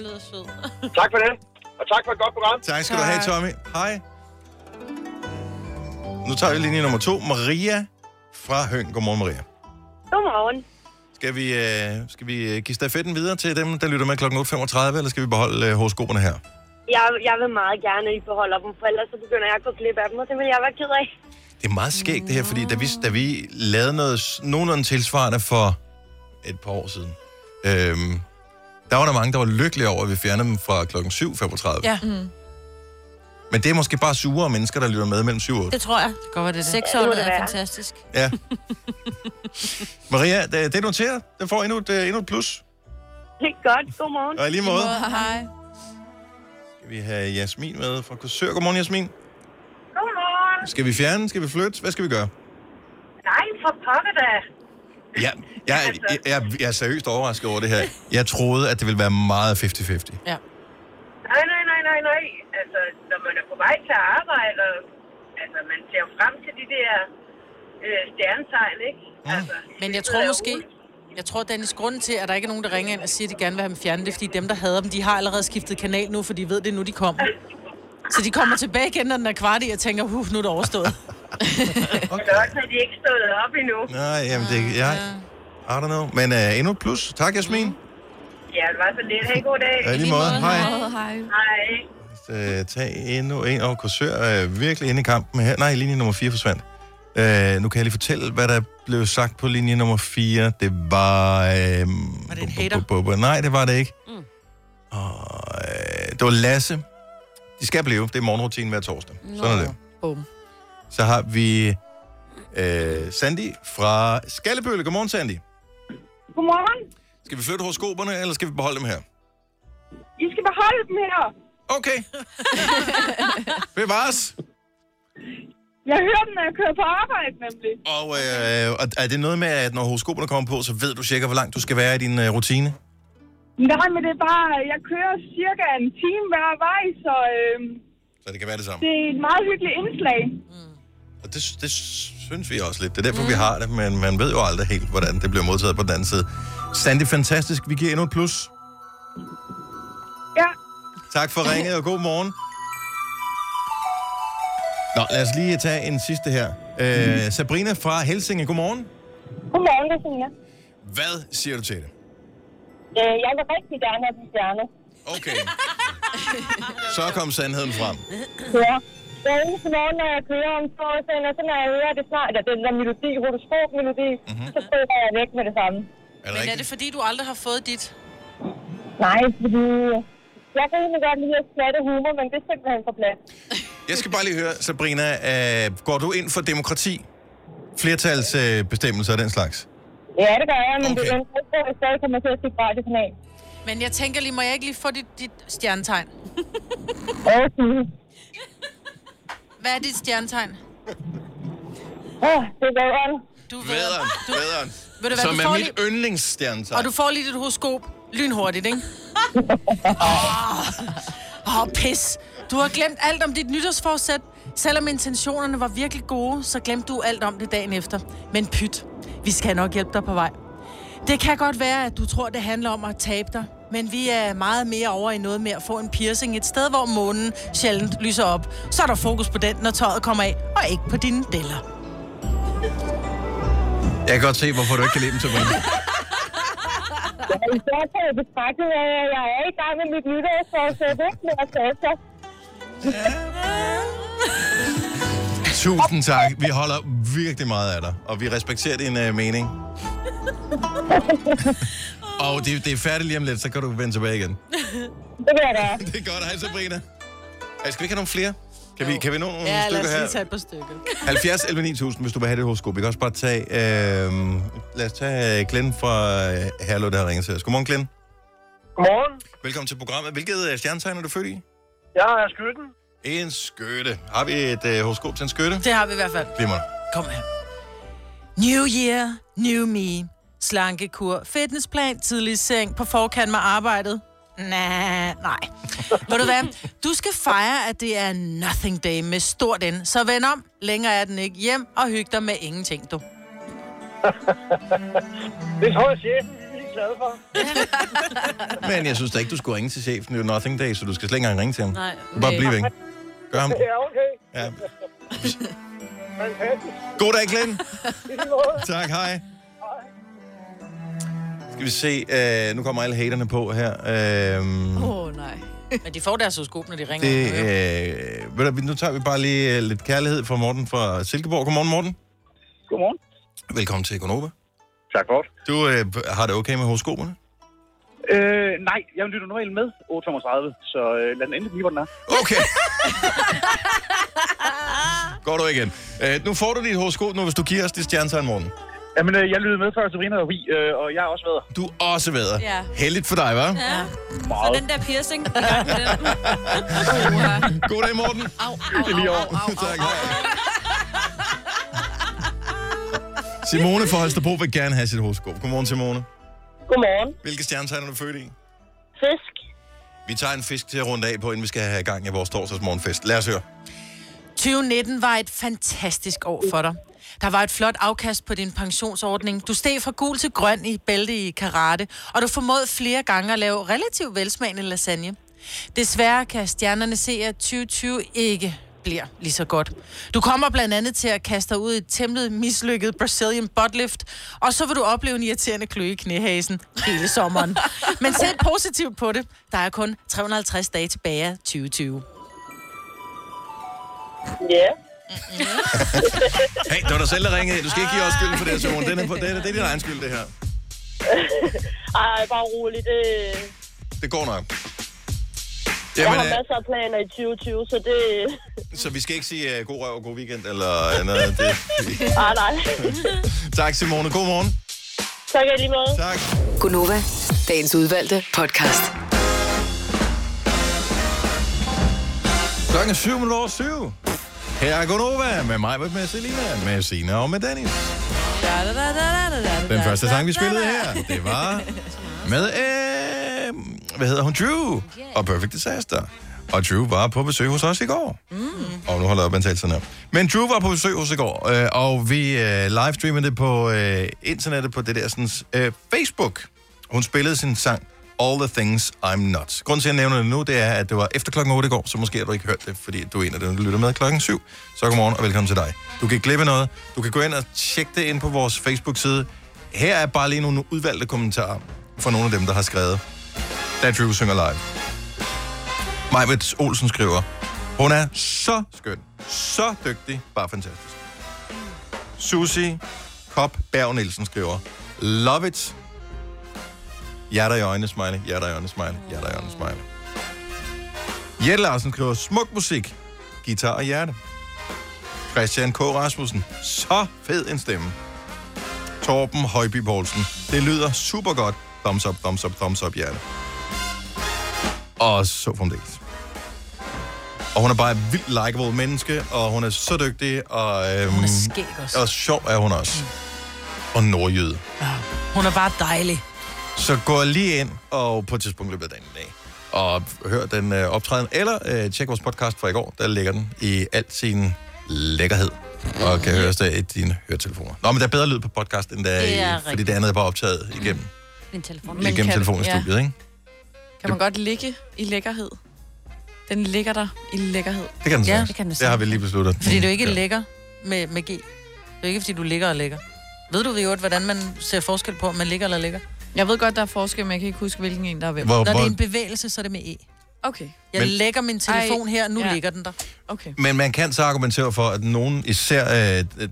tak for det, og tak for et godt program.
Tak skal du have, Tommy. Hej. Nu tager vi linje nummer to. Maria fra Høng. Godmorgen, Maria.
Godmorgen.
Skal vi, øh, skal vi øh, give stafetten videre til dem, der lytter med kl. 8.35, eller skal vi beholde øh, horoskoperne her?
Jeg, jeg vil meget gerne, at I beholder dem, for ellers så begynder jeg at gå glip af dem, og det vil jeg være ked
<laughs>
af.
Det er meget skægt det her, fordi da vi, da vi lavede noget s- nogenlunde tilsvarende for et par år siden, øhm, der var der mange, der var lykkelige over, at vi fjernede dem fra kl. 7.35. Ja.
Ja. Mm.
Men det er måske bare sure mennesker, der lytter med mellem 7 og 8.
<laughs>
Det tror jeg. Det
godt, det
det. 600 er fantastisk.
Ja. Maria, det, det er noteret. Den får endnu et, øh, endnu et plus.
Det er godt. Godmorgen.
Og i lige måde. I måde,
Hej.
Skal vi have Jasmin med fra Korsør? Godmorgen, Jasmin.
Godmorgen.
Skal vi fjerne? Skal vi flytte? Hvad skal vi gøre?
Nej, for pokker da.
Ja, jeg, jeg, jeg, jeg er seriøst overrasket over det her. Jeg troede, at det ville være meget 50-50.
Nej, nej, nej, nej, nej. Altså, når man er på vej til arbejde, og, altså, man ser jo frem til de der øh, stjernetegn, ikke? Altså,
Men jeg tror måske... Jeg tror, Dennis, grunden til, at der ikke er nogen, der ringer ind og siger, at de gerne vil have dem fjernet, det er, fordi dem, der hader dem, de har allerede skiftet kanal nu, for de ved, det er nu, de kommer. Så de kommer tilbage igen, når den er kvart i, og tænker, huh, nu <laughs> er det overstået.
Okay. Også har de ikke stået op endnu.
Nej, jamen det... Jeg, I don't know. Men uh, endnu et plus. Tak, Jasmin.
Ja, det var så lidt. Ha' en god dag.
Ja, i lige måde. Hej.
Hej.
øh, tage endnu en. Og Korsør er virkelig inde i kampen her. Nej, linje nummer 4 forsvandt. Øh, nu kan jeg lige fortælle, hvad der blev sagt på linje nummer 4. Det var... Øh, var det en hater? Nej, det var det ikke. Mm. Og, øh, det var Lasse. De skal blive. Det er morgenrutinen hver torsdag. Nå. Sådan er det.
Bum.
Så har vi øh, Sandy fra Skallebølle. Godmorgen, Sandy.
Godmorgen.
Skal vi flytte horoskoperne, eller skal vi beholde dem her?
I skal beholde dem her.
Okay. Bevares.
Jeg hører den, når jeg kører på arbejde, nemlig.
Og øh, og er det noget med, at når horoskoperne kommer på, så ved du cirka, hvor langt du skal være i din øh, rutine?
Nej, men det er bare, jeg kører cirka en time hver vej, så øh,
Så det kan være det samme.
det er et meget hyggeligt indslag.
Og det, det synes vi også lidt. Det er derfor, vi har det, men man ved jo aldrig helt, hvordan det bliver modtaget på den anden side. Sandy, fantastisk. Vi giver endnu et plus.
Ja.
Tak for ringet, og god morgen. Nå, lad os lige tage en sidste her. Øh, Sabrina fra Helsinge, godmorgen.
Godmorgen, Christina.
Hvad siger du til det?
Øh, jeg vil rigtig gerne have den stjerne.
Okay. Så kom sandheden frem.
Ja. Hver eneste morgen, når jeg kører om torsdagen, og så når jeg hører det snart, eller den der melodi, horoskop-melodi, mm-hmm. så prøver jeg væk med det samme.
Men er det fordi, du aldrig har fået dit?
Nej, fordi jeg kan egentlig godt lide at smatte humor, men det er simpelthen for plat.
Jeg skal bare lige høre, Sabrina, øh, går du ind for demokrati? Flertalsbestemmelser øh, bestemmelser og den slags?
Ja, det gør jeg, men okay. det ønsker ikke, at jeg stadig kommer til at se radiokanal.
Men jeg tænker lige, må jeg ikke lige få dit, dit
<laughs>
stjernetegn?
Okay.
Hvad er dit stjernetegn?
Åh, det er vædderen.
Du er
Vædderen,
Du-
vædderen.
Ved du hvad,
Som
du
er
får
mit
lige-
yndlingsstjernetegn.
Og du får lige dit horoskop lynhurtigt, ikke? <laughs> Åh, oh, pis. Du har glemt alt om dit nytårsforsæt. Selvom intentionerne var virkelig gode, så glemte du alt om det dagen efter. Men pyt, vi skal nok hjælpe dig på vej. Det kan godt være, at du tror, det handler om at tabe dig. Men vi er meget mere over i noget med at få en piercing et sted, hvor månen sjældent lyser op. Så er der fokus på den, når tøjet kommer af, og ikke på dine deller.
Jeg kan godt se, hvorfor du ikke kan lide dem, Sabrina.
Jeg er i hvert fald betragtet af, at jeg er i gang med mit nytårsforsæt, ikke? Men jeg skal også.
Tusind tak. Vi holder virkelig meget af dig, og vi respekterer din øh, mening. og det, det er færdigt lige om lidt, så kan du vende tilbage igen.
Det vil jeg da.
<laughs> Det er godt. Hej, Sabrina. Ej, skal vi ikke have nogle flere? Kan vi, kan vi nå nogle
Ja, lad
stykker
os
her?
lige tage et par stykker.
<laughs> 70 11 9000, hvis du vil have det horoskop. Vi kan også bare tage... Øh, lad os tage øh, Glenn fra øh, Herlev, der har ringet til os. Godmorgen, Glenn.
Godmorgen.
Velkommen til programmet. Hvilket øh, stjernetegn er du født i?
Jeg er skytten.
En skytte. Har vi et øh, horoskop til en skytte?
Det har vi i hvert fald.
Glimmer.
Kom her. New year, new me. Slankekur, fitnessplan, tidlig i seng, på forkant med arbejdet. Næh, nej. Ved du hvad? Du skal fejre, at det er nothing day med stort N. Så vend om. Længere er den ikke. Hjem og hyg dig med ingenting, du.
Det tror jeg, chefen er lige glad for.
Men jeg synes da ikke, du skulle ringe til chefen. Det er jo nothing day, så du skal slet ikke engang ringe til ham.
Nej,
Du bare
okay.
blive væk. Gør ham.
Ja, okay.
Ja.
Fantastisk.
God dag,
<laughs>
Glenn.
I lige måde.
Tak, hej. Skal vi se. Øh, nu kommer alle haterne på her. Øh,
oh, nej. Men de får deres horoskop, når de ringer.
det, øh, ved du, nu tager vi bare lige øh, lidt kærlighed fra Morten fra Silkeborg. Godmorgen, Morten.
Godmorgen.
Velkommen til Gonova.
Tak for
Du øh, har det okay med horoskoperne?
Øh, nej, jeg lytter normalt med 8.35, så øh, lad den endelig blive, hvor den er.
Okay. Går du igen. Øh, nu får du dit horoskop nu, hvis du giver os det stjernetegn, Morten.
Jamen, øh, jeg lyttede med før Sabrina var vi, øh, og jeg er også vædder.
Du er også vædder.
Ja.
Heldigt for dig, hva'?
Ja. Så
Meget.
den der
<laughs>
piercing, i gang med den.
<laughs> God dag, Morten.
Au,
Det er lige over. <laughs> Tak, hej. Simone fra Holstebro vil gerne have sit horoskop. Godmorgen, Simone.
Godmorgen.
Hvilke stjernetegn er du født i?
Fisk.
Vi tager en fisk til at runde af på, inden vi skal have gang i vores torsdagsmorgenfest. Lad os høre.
2019 var et fantastisk år for dig. Der var et flot afkast på din pensionsordning. Du steg fra gul til grøn i bælte i karate, og du formåede flere gange at lave relativt velsmagende lasagne. Desværre kan stjernerne se, at 2020 ikke bliver lige så godt. Du kommer blandt andet til at kaste dig ud i et temmelig mislykket Brazilian buttlift, og så vil du opleve en irriterende kløe i knæhasen hele sommeren. Men se positivt på det. Der er kun 350 dage tilbage af 2020.
Ja.
Hey, det var dig selv, der ringede. Du skal ikke give os skylden for det her, Simon. Den er, på, det, er, det er din egen skyld, det her.
Ej, bare rolig. Det...
Det går nok.
Jamen, jeg
Jamen,
har
øh,
masser af planer i 2020, så det...
så vi skal ikke sige uh, god røv og god weekend eller andet. Det.
Ej, Ah, nej.
Tak, Simone. God morgen.
tak i lige måde.
Tak.
Gunova, dagens udvalgte podcast.
Klokken er syv minutter over syv. Her er Gunova med mig, med Selina, med Sina og med Dennis. Den første sang, vi spillede her, det var med, øh, hvad hedder hun, Drew og Perfect Disaster. Og Drew var på besøg hos os i går. Og nu holder jeg op med at tale sådan her. Men Drew var på besøg hos os i går, øh, og vi øh, livestreamede det på øh, internettet på det der sådan, øh, Facebook. Hun spillede sin sang All the Things I'm Not. Grunden til, at jeg nævner det nu, det er, at det var efter klokken 8 i går, så måske har du ikke hørt det, fordi du er en af dem, der lytter med klokken 7. Så godmorgen og velkommen til dig. Du kan ikke glemme noget. Du kan gå ind og tjekke det ind på vores Facebook-side. Her er bare lige nogle udvalgte kommentarer fra nogle af dem, der har skrevet. Da Drew synger live. Majvits Olsen skriver, hun er så skøn, så dygtig, bare fantastisk. Susie Kop Berg Nielsen skriver, love it. Hjerter i øjnene, smiley, hjerter i øjnene, smiley, hjerter i øjnene, smiley. Jette Larsen skriver, smuk musik, guitar og hjerte. Christian K. Rasmussen, så fed en stemme. Torben Højby Poulsen, det lyder super godt. Thumbs up, thumbs up, thumbs up, hjerte. Og så fremdeles. Og hun er bare et vildt likeable menneske, og hun er så dygtig, og... Øhm, hun er
skæg også.
Og sjov er hun også. Og nordjyde.
Hun er bare dejlig.
Så gå lige ind og på et tidspunkt i løbet af dagen i dag og hør den øh, optræden, eller øh, tjek vores podcast fra i går, der ligger den i al sin lækkerhed, og kan høres der i dine høretelefoner. Nå, men der er bedre lyd på podcast, end der
Det er
er, i, fordi
rigtigt.
det andet er bare optaget igennem,
Min telefon.
Men igennem
kan-
telefonen i
ja.
studiet, ikke?
Kan man godt ligge i lækkerhed? Den ligger der i lækkerhed.
Det kan den
Ja,
sagtens.
det kan den
det har
sagtens.
vi lige besluttet.
Fordi du ikke
Ja.
ja. lægger med, med G. Det er ikke, fordi du ligger og ligger. Ved du ved jo, hvordan man ser forskel på, om man ligger eller ligger?
Jeg ved godt, der er forskel, men jeg kan ikke huske, hvilken en der er hvem.
Når
Hvor-
det
hvor-
er en bevægelse, så er det med E.
Okay.
Jeg
Men-
men... lægger min telefon
Ej,
her, nu
ja.
ja. ligger den der. Mm.
Okay.
Men man kan så argumentere for, at nogen, især øh, øh,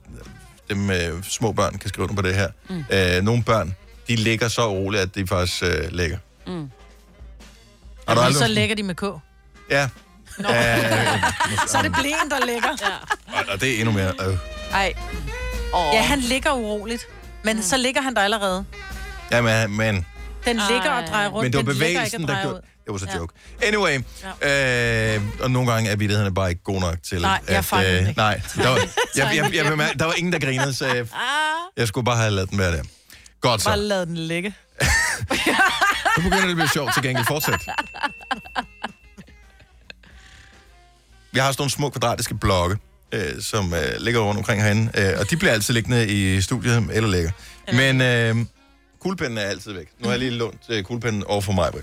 dem øh, små børn, kan skrive under på det her. Mm. Øh, nogle børn, de ligger så roligt, at de faktisk øh, ligger.
Mm.
Har du
Og
aldrig...
så lægger de med K.
Ja. Øh,
Så er det blæen, der ligger. Ja.
og- og det er endnu mere... Øh.
Ej. Oh. Ja, han ligger uroligt. Men mm. så ligger han der allerede.
Jamen, men...
Den ligger og drejer rundt.
Men det var
den ligger ikke og
bevægelsen, der
drejer
gjorde...
ud.
Det var så
Ja.
joke. Anyway, øh, og nogle gange er vittighederne bare ikke gode nok til...
Nej, jeg fanger
at, øh,
den ikke.
Nej, der
<laughs>
var, jeg, jeg, jeg,
ikke.
jeg, bemærkede- der var ingen, der grinede, så jeg, jeg skulle bare have ladet den være der. Godt
Bare
så.
lad den ligge.
Nu begynder det at blive sjovt til gengæld. Fortsæt. Vi har sådan nogle små kvadratiske blokke, øh, som øh, ligger rundt omkring herinde, øh, og de bliver altid liggende i studiet, eller ligger. Men øh, kuglepinden er altid væk. Nu har jeg lige lånt øh, kuglepinden over for mig. Mm.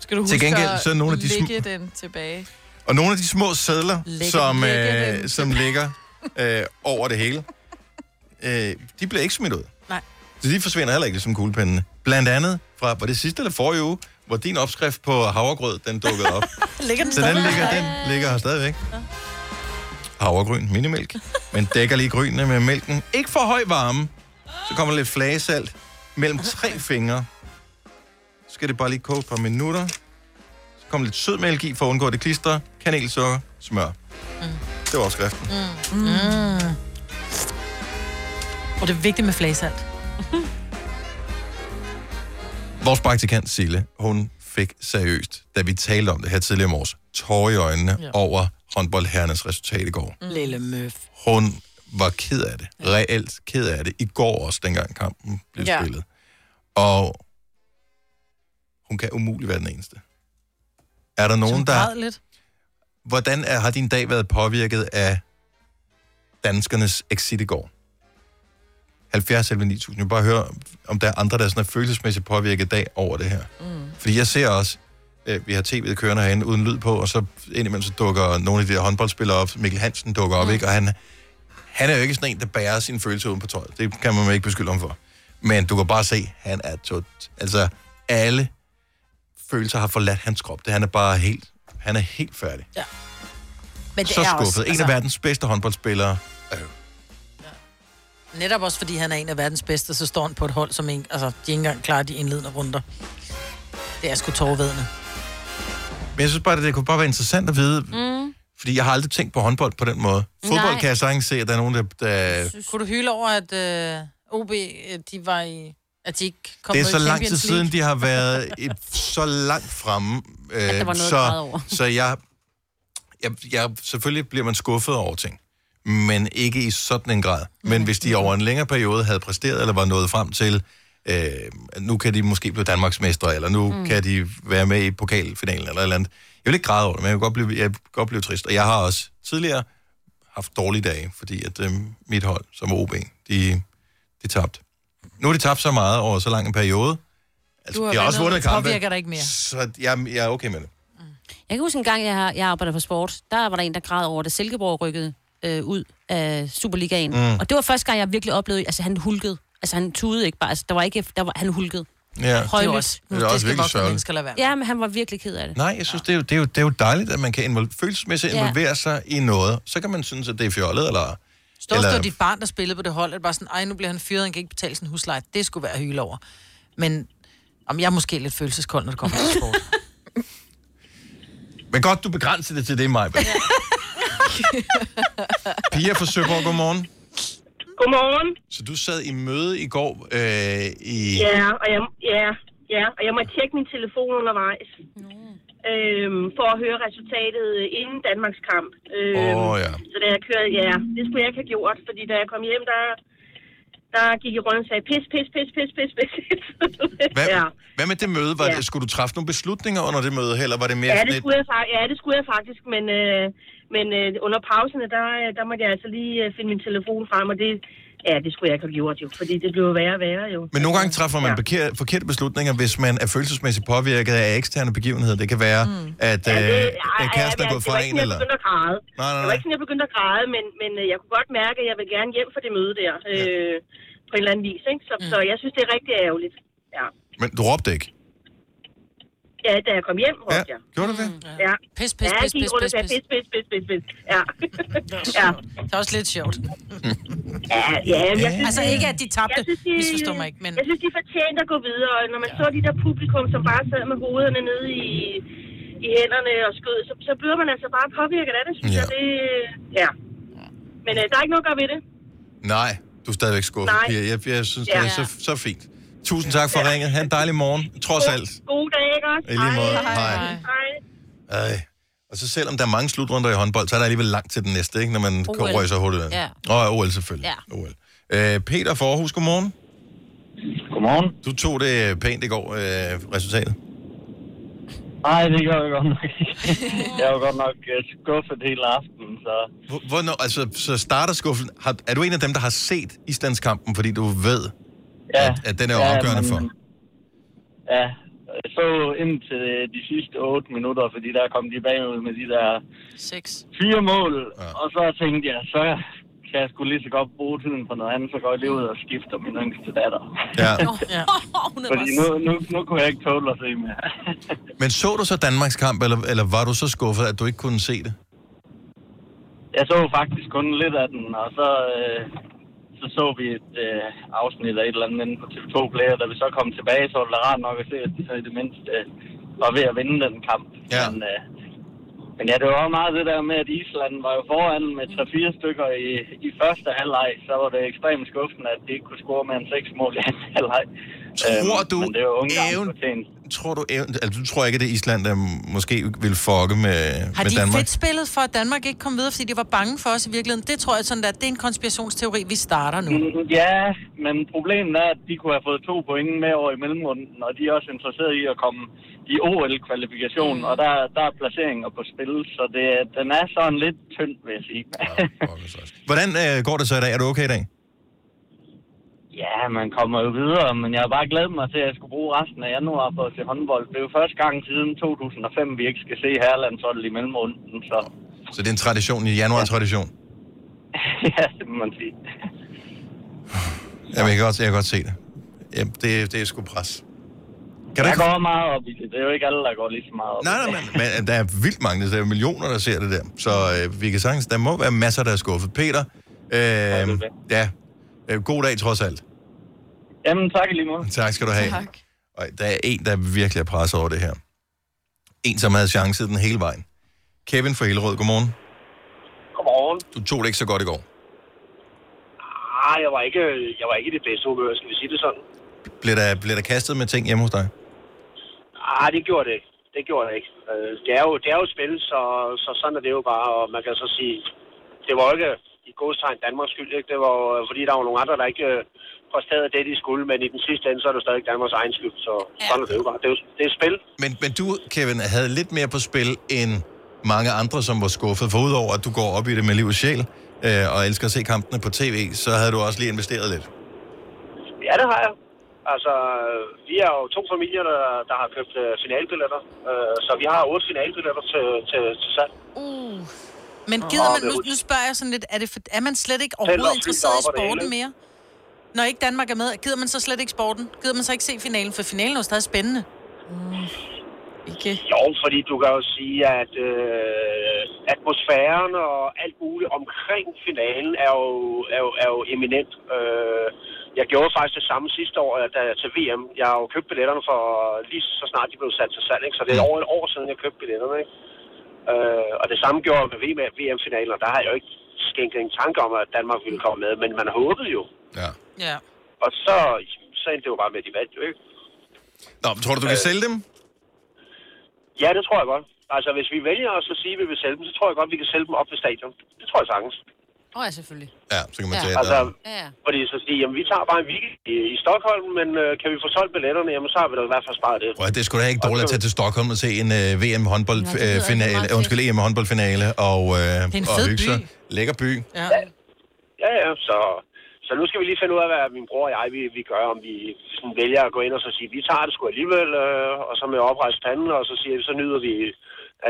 Skal du
Til
huske
gengæld,
at
så er nogle af de sm-
lægge den tilbage?
Og nogle af de små sædler,
Lægge-
som,
lægge
øh,
dem.
som ligger øh, over det hele, øh, de bliver ikke smidt ud.
Nej.
Så de forsvinder heller ikke, ligesom kuglepindene. Blandt andet fra, var det sidste eller forrige uge, hvor din opskrift på havregrød, den dukkede op.
Ligger den
Så den
stadig?
ligger, den ligger her stadigvæk. Havregryn, minimælk. Men dækker lige grynene med mælken. Ikke for høj varme. Så kommer lidt flagesalt mellem tre fingre. Så skal det bare lige koge et par minutter. Så kommer lidt sødmælk i for at undgå at det klister. Kanelsukker, smør. Det var opskriften.
Mm. Mm. Og det er vigtigt med flagesalt.
Vores praktikant Sille, hun fik seriøst, da vi talte om det her tidligere i morges, tårer i øjnene ja. over håndboldherrenes resultat i går.
Lille møf.
Hun var ked af det. Reelt ked af det. I går også, dengang kampen blev
Ja.
ja. spillet. Og hun kan umuligt være den eneste. Er der nogen, der...
lidt.
Hvordan er, har din dag været påvirket af danskernes exit i går? 70 eller 9000. Jeg vil bare høre, om der er andre, der sådan er følelsesmæssigt påvirket i dag over det her. Mm. Fordi jeg ser også, øh, øh, vi har tv'et kørende herinde uden lyd på, og så indimellem så dukker nogle af de der håndboldspillere op. Mikkel Hansen dukker op, ikke? Og han, han er jo ikke sådan en, der bærer sine følelser uden på tøjet. Det kan man ikke beskylde ham for. Men du kan bare se, han er tot... Altså, alle følelser har forladt hans krop. Det, han er bare helt... Han er helt færdig.
Ja. Men det
så
er
skuffet.
Også,
en altså... af verdens bedste håndboldspillere.
Netop også fordi han er en af verdens bedste, så står han på et hold, som ikke, altså, de ikke engang klarer de indledende runder. Det er sgu tårvedende.
Men jeg synes bare, det, det kunne bare være interessant at vide,
Mm.
fordi jeg har aldrig tænkt på håndbold på den måde. Fodbold
Nej.
kan jeg sagtens se, at der er nogen, der... der
Kunne du hylde over, at øh, OB, øh, de var i... At de ikke kom
det er
med i
så lang tid
Champions
siden,
League?
de har været
<laughs>
et, så langt fremme. Øh,
der var noget at græde over.
så, så jeg, jeg, jeg... Selvfølgelig bliver man skuffet over ting, men ikke i sådan en grad. Men hvis de over en længere periode havde præsteret, eller var nået frem til, øh, nu kan de måske blive Danmarksmestre, eller nu
Mm.
mm. kan de være med i pokalfinalen, eller et eller andet. Jeg vil ikke græde over det, men jeg vil godt blive, jeg vil godt blive trist. Og jeg har også tidligere haft dårlige dage, fordi at øh, mit hold, som er OB, de, de tabte. Nu har de tabt så meget over så lang en periode. Altså,
Du har
de har også
vundet,
vundet
det
kampe.
påvirker dig ikke mere.
Så jeg, jeg er okay med det.
Jeg kan huske en gang, jeg, har, jeg arbejder på sport, der var der en, der græd over det. Silkeborg rykkede øh, ud af Superligaen.
Mm.
Mm. Og det var første gang, jeg virkelig oplevede, altså han hulkede. Altså han tudede ikke bare, altså der var ikke, der var, han hulkede.
Ja.
Højlydt. Det er også-
det er også virkelig sørgeligt.
Ja, men han var virkelig ked af det.
Nej, jeg synes, det er, jo, det, er jo, det er jo dejligt, at man kan involve, følelsesmæssigt
Ja.
involvere sig i noget. Så kan man synes, at det er fjollet, eller...
Stå
eller
eller... dit barn, der spillede på det hold, at bare sådan, ej, nu bliver han fyret, han kan ikke betale sin husleje. Det skulle være at hyle over. Men om jeg er måske lidt følelseskold, når det kommer til sport.
Men godt, du begrænser det til det, Maja. <laughs> Pia fra Søborg, godmorgen.
Godmorgen.
Så du sad i møde i går øh, i...
Ja, og jeg, ja, ja, og jeg må tjekke min telefon undervejs.
Mm.
Øhm, for at høre resultatet øh, inden Danmarks kamp. Øhm,
Åh, ja.
Så da jeg kørte, ja, det skulle jeg ikke have gjort, fordi da jeg kom hjem, der, der gik jeg rundt og sagde, pis, pis, pis, pis, pis, pis. <laughs>
Hvad, ja. hvad med det møde? Var
Ja.
ja. det, skulle du træffe nogle beslutninger under det møde, eller var det mere
Ja,
sådan
det
et...
skulle jeg, fa- ja, det skulle jeg faktisk, men, øh, men øh, under pauserne, der, øh, der måtte jeg altså lige øh, finde min telefon frem, og det, ja, det skulle jeg ikke have gjort jo, fordi det blev værre og værre jo.
Men nogle gange træffer man ja. forkerte beslutninger, hvis man er følelsesmæssigt påvirket af eksterne begivenheder. Det kan være, mm. at øh,
det-
ja,
ej,
kæresten er
ej,
gået
det var
fra
ikke
en,
sådan,
eller...
Jeg begyndte at græde.
Nej, nej,
Det var ikke sådan, jeg begyndte at græde, men, men øh, jeg kunne godt mærke, at jeg vil gerne hjem fra det møde der. Øh, på en eller anden vis, ikke? Så, så jeg synes, det er rigtig ærgerligt. Ja,
Men du råbte ikke.
ja da jeg kom hjem, råbte jeg.
Gjorde du det?
Ja.
Pis, pis,
ja, jeg
pis,
gik
pis,
rundt og
pis,
sagde,
pis.
pis, pis, pis, pis, pis. Ja. ja.
Det er også lidt sjovt.
Ja, ja, men jeg synes,
altså
det-
ikke, at de tabte.
jeg synes, de,
Misforstå mig ikke, men...
Jeg synes, de fortjente at gå videre, og når man ja. så de der publikum, som bare sad med hovederne nede i, i hænderne og skød, så, så bliver man altså bare påvirket af det, synes ja. jeg. Det, ja. Men øh, der er ikke noget at gøre ved det.
Mm. Nej, du er stadigvæk skuffet,
Nej.
Pia. Jeg, jeg synes,
Ja.
det er så, så fint. Tusind tak for ringet. Ha' en dejlig morgen, trods alt.
God dag, ikke også?
I lige måde. Hej.
Hej.
Ej. Og så selvom der er mange slutrunder i håndbold, så er der alligevel langt til den næste, ikke? når man
OL.
kommer så hurtigt.
Ja.
Og OL selvfølgelig. Ja. OL. Øh, Peter fra Aarhus, godmorgen. Godmorgen. Du tog det pænt i går, øh, resultatet.
Nej, det gør jeg godt nok
<laughs>
ikke. Jeg var godt nok øh, skuffet hele aftenen, så...
Hvor- Hvornår, altså, så starter skuffen. Har, er du en af dem, der har set islandskampen, fordi du ved, ja. at, at den er jo
<laughs> Ja,
afgørende
men-
for?
Ja, jeg så indtil øh, de sidste 8 minutter, fordi der kom de bagud med de der
Seks.
fire mål. Ja. Og så tænkte jeg, så kan jeg sgu lige så godt bruge tiden på noget andet, så går jeg lige ud og skifter min yngste datter.
Ja.
ja.
Fordi nu, nu, nu kunne jeg ikke tåle at se mere.
Men så du så Danmarks kamp, eller, eller var du så skuffet, at du ikke kunne se det?
Jeg så faktisk kun lidt af den, og så, øh, så så vi et øh, afsnit af et eller andet inde på TV2 Play, og da vi så kom tilbage, så var det da rart nok at se, at de så i det mindste øh, var ved at vinde den kamp. Ja. Men, øh, men ja, det var også meget det der med, at Island var jo foran med 3-4 stykker i, i første halvleg, så var det ekstremt skuffende, at de ikke kunne score mere end 6 mål i anden halvleg. Øhm,
Tror du
men det var Ungarn
even-
fortjent.
Tror du, event- altså, du tror ikke, at det er Island, der måske vil fucke med,
Har
med
de
Danmark?
fedt spillet for, at Danmark ikke kom videre, fordi de var bange for os i virkeligheden? Det tror jeg sådan, at det er en konspirationsteori, vi starter nu.
Mm, Ja, men problemet er, at de kunne have fået to point med over i mellemrunden, og de er også interesserede i at komme i OL-kvalifikationen, og der, der er placeringer på spil, så det, den er sådan lidt tynd, vil jeg sige.
Hvordan øh, går det så i dag? Er du okay i dag?
<laughs> Ja, man kommer jo videre, men jeg har bare glædet mig til, at jeg skulle bruge resten af januar på at se håndbold. Det er jo første gang siden 2005, vi ikke skal se Herlandsholdet i mellemrunden, så <laughs>
Så det er en tradition, en januar-tradition.
ja, det må man sige.
Jamen, jeg kan godt, jeg kan godt se det. Jamen, det, det er sgu pres. Kan
jeg
du ikke-
går meget op i det. Det er jo ikke alle, der går lige så meget op
Nej,
i
nej,
det.
men, men øh, der er vildt mange, der er millioner, der ser det der. Så øh, vi kan sagtens, der må være masser, der er skuffet. Peter, øh, ja, øh, god dag trods alt.
Jamen, tak i lige måde.
Tak skal du have.
Tak.
Og der er en, der virkelig er presset over det her. En, som havde chancen den hele vejen. Kevin fra Hillerød, godmorgen.
Godmorgen.
Du tog det ikke så godt i går.
Ah, jeg var ikke, jeg var ikke i det bedste humør, skal vi sige det sådan.
Blev der, blev der kastet med ting hjemme hos dig?
Ah, det gjorde det ikke. Det gjorde det ikke. Øh, Det er jo, det er jo et spil, så, så sådan er det jo bare, og man kan så sige, det var jo ikke i godstegn Danmarks skyld, ikke? Det var jo, øh, fordi der var nogle andre, der ikke øh, præsterede det, de skulle, men i den sidste ende, så er det stadig Danmarks egen skyld, så sådan er det jo bare. Det er, jo, det er et spil.
Men, men du, Kevin, havde lidt mere på spil end mange andre, som var skuffet. For udover at du går op i det med liv og sjæl, øh, og elsker at se kampene på tv, så havde du også lige investeret lidt.
Ja, det har jeg. Altså, øh, vi er jo to familier, der, der har købt øh, finalbilletter, øh, så vi har otte finalbilletter til, til, til salg.
Uh. Men
Nå,
gider man,
det er
nu,
jo-
nu spørger jeg sådan lidt, er, det for, er man slet ikke
Tæller og
overhovedet
fly
interesseret i
deroppe og det
sporten
hele.
mere? Når ikke Danmark er med, gider man så slet ikke sporten? Gider man så ikke se finalen? For finalen er jo stadig spændende.
Ikke? Jo, fordi du kan jo sige, at øh, atmosfæren og alt muligt omkring finalen er jo, er jo, er jo eminent. Øh, jeg gjorde faktisk det samme sidste år da, til VM. Jeg har jo købt billetterne for lige så snart de blev sat til salg, ikke? så det er over et år siden, jeg købte billetterne. Ikke? Øh, og det samme gjorde jeg med VM- VM-finalen, og der har jeg jo ikke skænket en tanke om, at Danmark ville komme med, men man håbede jo.
Ja.
Ja.
Og så, så endte det jo bare med, at de vandt jo ikke.
Nå, men tror du, du kan sælge dem?
Ja, det tror jeg godt. Altså, hvis vi vælger os at sige, at vi vil sælge dem, så tror jeg godt, vi kan sælge dem op ved stadion. Det tror jeg sagtens.
Åh, oh, ja, selvfølgelig.
Ja, så kan man
Ja.
tage
Altså,
et,
Ja, ja.
fordi så sige, jamen, vi tager bare en weekend i, i Stockholm, men øh, kan vi få solgt billetterne, jamen, så har vi da i hvert fald sparet det.
Prøv at, det skulle da ikke dårligt at tage til Stockholm og se en uh, VM håndbold
Nå, det lyder
øh, finale,
rigtig
uh, undskyld, EM håndboldfinale og uh, det er
en
og
fed
hygge sig.
by.
Lækker by.
Ja.
Ja, ja, så... Så nu skal vi lige finde ud af, hvad min bror og jeg vi, vi gør, om vi sådan vælger at gå ind og så sige, vi tager det sgu alligevel, øh, og så med oprejst panden, og så siger vi, så nyder vi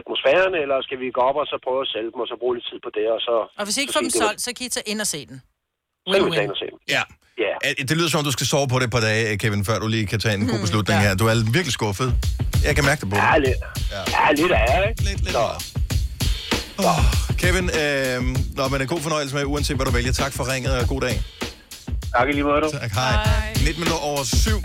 atmosfæren, eller skal vi gå op og så prøve at sælge dem, og så bruge lidt tid på det, og så...
Og hvis I ikke
så
får dem
sige, det var-
solgt, så kan I tage ind og se den.
Så kan vi tage ind og se dem.
Ja. Yeah. Det lyder som om, du skal sove på det et par dage, Kevin, før du lige kan tage en
Hmm,
god beslutning her. Du er virkelig skuffet. Jeg kan mærke det på dig.
Ja, lidt. Ja, lidt er, ikke?
Lidt, lidt. Oh, Kevin, øh, nå, men en god fornøjelse med, uanset hvad du vælger. Tak for ringet, og god dag.
Tak i lige måde, du.
Tak, hej. hej. 19 minutter over syv.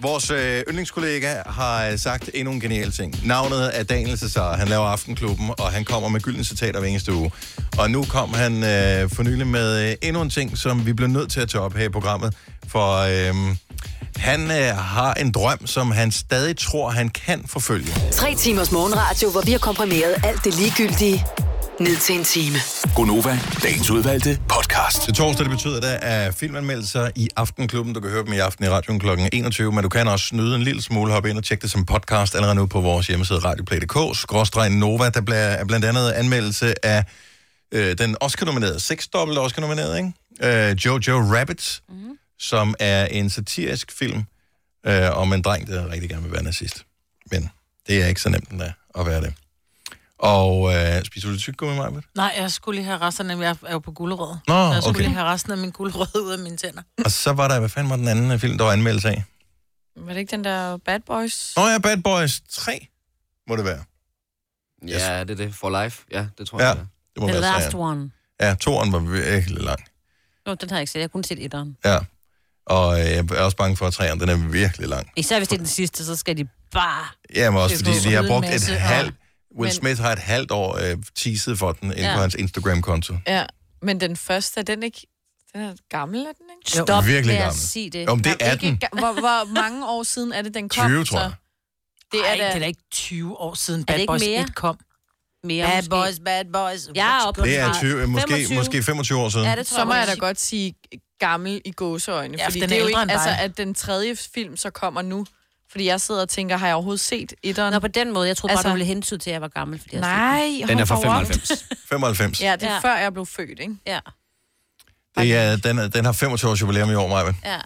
Vores øh, yndlingskollega har øh, sagt endnu en genial ting. Navnet er Daniel Cesar. Han laver Aftenklubben, og han kommer med gyldne citater hver eneste uge. Og nu kom han øh, for nylig med øh, endnu en ting, som vi bliver nødt til at tage op her i programmet. For øh, han øh, har en drøm, som han stadig tror, han kan forfølge.
Tre timers morgenradio, hvor vi har komprimeret alt det ligegyldige ned til en time.
Gonova, dagens udvalgte podcast. Det torsdag, det betyder, at der er filmanmeldelser i Aftenklubben. Du kan høre dem i aften i radioen kl. 21, men du kan også snyde en lille smule, hoppe ind og tjekke det som podcast allerede nu på vores hjemmeside radioplay.dk. Skråstreg Nova, der bliver- er blandt andet anmeldelse af øh, den Oscar-nominerede, seksdobbelt Oscar-nominerede, ikke? Øh, Jojo Rabbit, mm. som er en satirisk film øh, om en dreng, der rigtig gerne vil være nazist. Men det er ikke så nemt, den er at være det. Og øh, spiser du lidt tyk med mig,
Nej, jeg skulle lige have resten af, jeg er jo på gulerød.
Nå,
Så jeg skulle
okay.
lige have resten af min gulerød ud af mine tænder.
Og så var der, hvad fanden var den anden øh, film, der var anmeldelse af?
Var det ikke den der Bad Boys?
Nå ja, Bad Boys 3, må det være.
Ja, det er det. For life. Ja, det tror
Ja,
jeg. det er.
det må
The
være
last
træeren.
one.
Ja, toeren var virkelig lang.
Nå, den har jeg ikke set. Jeg har kun set etteren.
Ja. Og øh, jeg er også bange for, at træeren, den er virkelig lang.
Især hvis det er den sidste, så skal de bare...
Ja, men også
Det er
fordi
på
de har
en
brugt
masse,
et
og-
halvt... Will
Men-
Smith har et halvt år øh, teaset for den inde
Ja.
på hans Instagram-konto.
Øh,
Ja, men den første, er den ikke... Den er gammel, er den ikke?
Jo. Stop Virkelig med at gammel.
sige
det. Jo, men det er den.
Hvor, hvor mange år siden er det, den kom?
20,
så?
tror jeg.
Det
Ej,
er da...
det er da ikke 20 år siden
det
Bad
ikke
Boys
mere?
1 kom.
Mere
bad
måske.
Boys, Bad Boys.
Jeg er
What's
oppe
going
Det er
on?
20, øh, måske, 25. måske 25 år siden.
Ja, det tror så må
jeg
jeg da
også.
godt sige gammel i gåseøjne.
Ja,
Ja,
for
fordi
den
det er
er
jo ikke,
ældre end
altså,
dig.
at den tredje film så kommer nu. Fordi jeg sidder og tænker, har jeg overhovedet set etteren? Altså-
Nå, på den måde. Jeg troede bare, du ville hentyde til, at jeg var gammel. Fordi jeg
Nej,
set den. <laughs>
hold da op.
95.
Ja, det er
Ja.
ja. før jeg blev født, ikke?
Ja.
Det er, den, er- den har 25 års jubilæum i år, Maja.
Ja.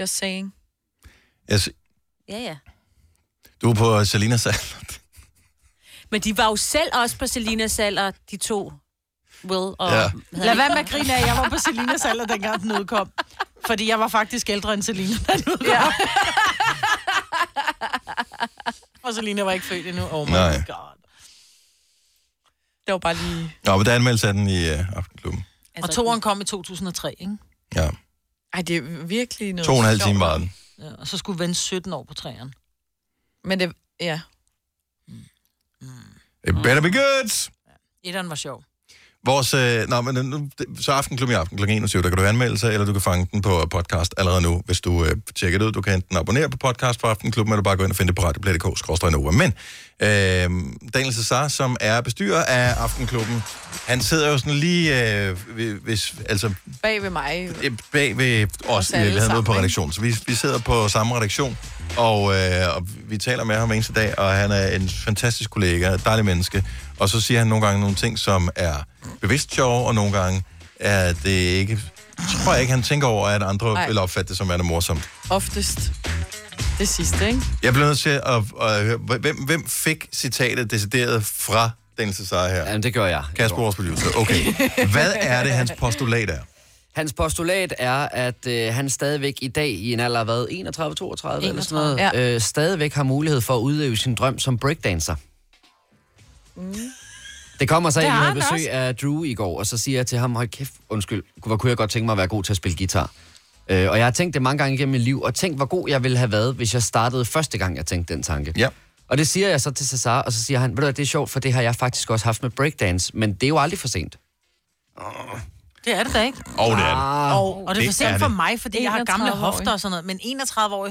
Just saying.
Altså,
Ja, ja.
du er på Salinas salg.
Men de var jo selv også på Selinas alder, de to. Will og...
Ja.
Ja.
Lad være med at grine af, jeg var på Selinas alder, dengang den udkom. Fordi jeg var faktisk ældre end Selina, da den udkom. Ja. <laughs> Og Selina var ikke født endnu. Oh my
Nej.
Nej. god. Det var bare lige...
<laughs> Nå, men der er anmeldelse af den i øh, Aftenklubben.
Altså, og toeren kom i 2003, ikke?
Ja.
Ej, det er virkelig
To og en halv time var den.
Ja, og så skulle vente 17 år på træerne.
Men det... Ja.
It better be good!
Etteren var sjov.
Vores, øh, nå, men nu, det- så aftenklubben i aften kl. 21, der kan du anmelde sig, eller du kan fange den på podcast allerede nu, hvis du øh, tjekker det ud. Du kan enten abonnere på podcast fra Aftenklubben, eller bare gå ind og finde det på radioplay.dk-nova. Men øh, Daniel Cesar, som er bestyrer af Aftenklubben, han sidder jo sådan lige øh, ved- hvis, altså,
Bag ved mig.
øh, bag ved os,
Os
vi
alle
havde noget
sammen,
på
ikke?
redaktionen. Så vi, vi sidder på samme redaktion, og, øh, og vi taler med ham hver eneste dag, og han er en fantastisk kollega, et dejligt menneske. Og så siger han nogle gange nogle ting, som er bevidst sjove, og nogle gange er det ikke... Tror jeg ikke, han tænker over, at andre
Nej.
Nej. vil opfatte det som værende morsomt.
Oftest. Det sidste, ikke?
Jeg bliver nødt til at, at høre, hvem, hvem fik citatet decideret fra Daniel Cesar her? Jamen,
det gør jeg.
Kasper, vores producer.
<laughs>
Okay. Hvad er det, hans postulat er?
Hans postulat er, at øh, han stadigvæk i dag, i en alder af hvad, 31, 32 eller sådan noget, ja. øh, stadigvæk har mulighed for at udøve sin drøm som breakdancer.
Mm.
Det kommer så
Det
ind, vi
har
havde
han
besøg af Drew i går, og så siger jeg til ham, hold kæft, undskyld, hvor kunne jeg godt tænke mig at være god til at spille guitar. Øh, og jeg har tænkt det mange gange igennem mit liv, og tænkt, hvor god jeg ville have været, hvis jeg startede første gang, jeg tænkte den tanke.
Ja.
Og det siger jeg så til Cesar, og så siger han, ved du hvad, det er sjovt, for det har jeg faktisk også haft med breakdance, men det er jo aldrig for sent.
Det er det da ikke.
Åh, det er det.
Og, og det er for
Det er
sent for
det.
mig, fordi jeg har gamle
31-årig.
hofter og sådan noget. Men 31 år,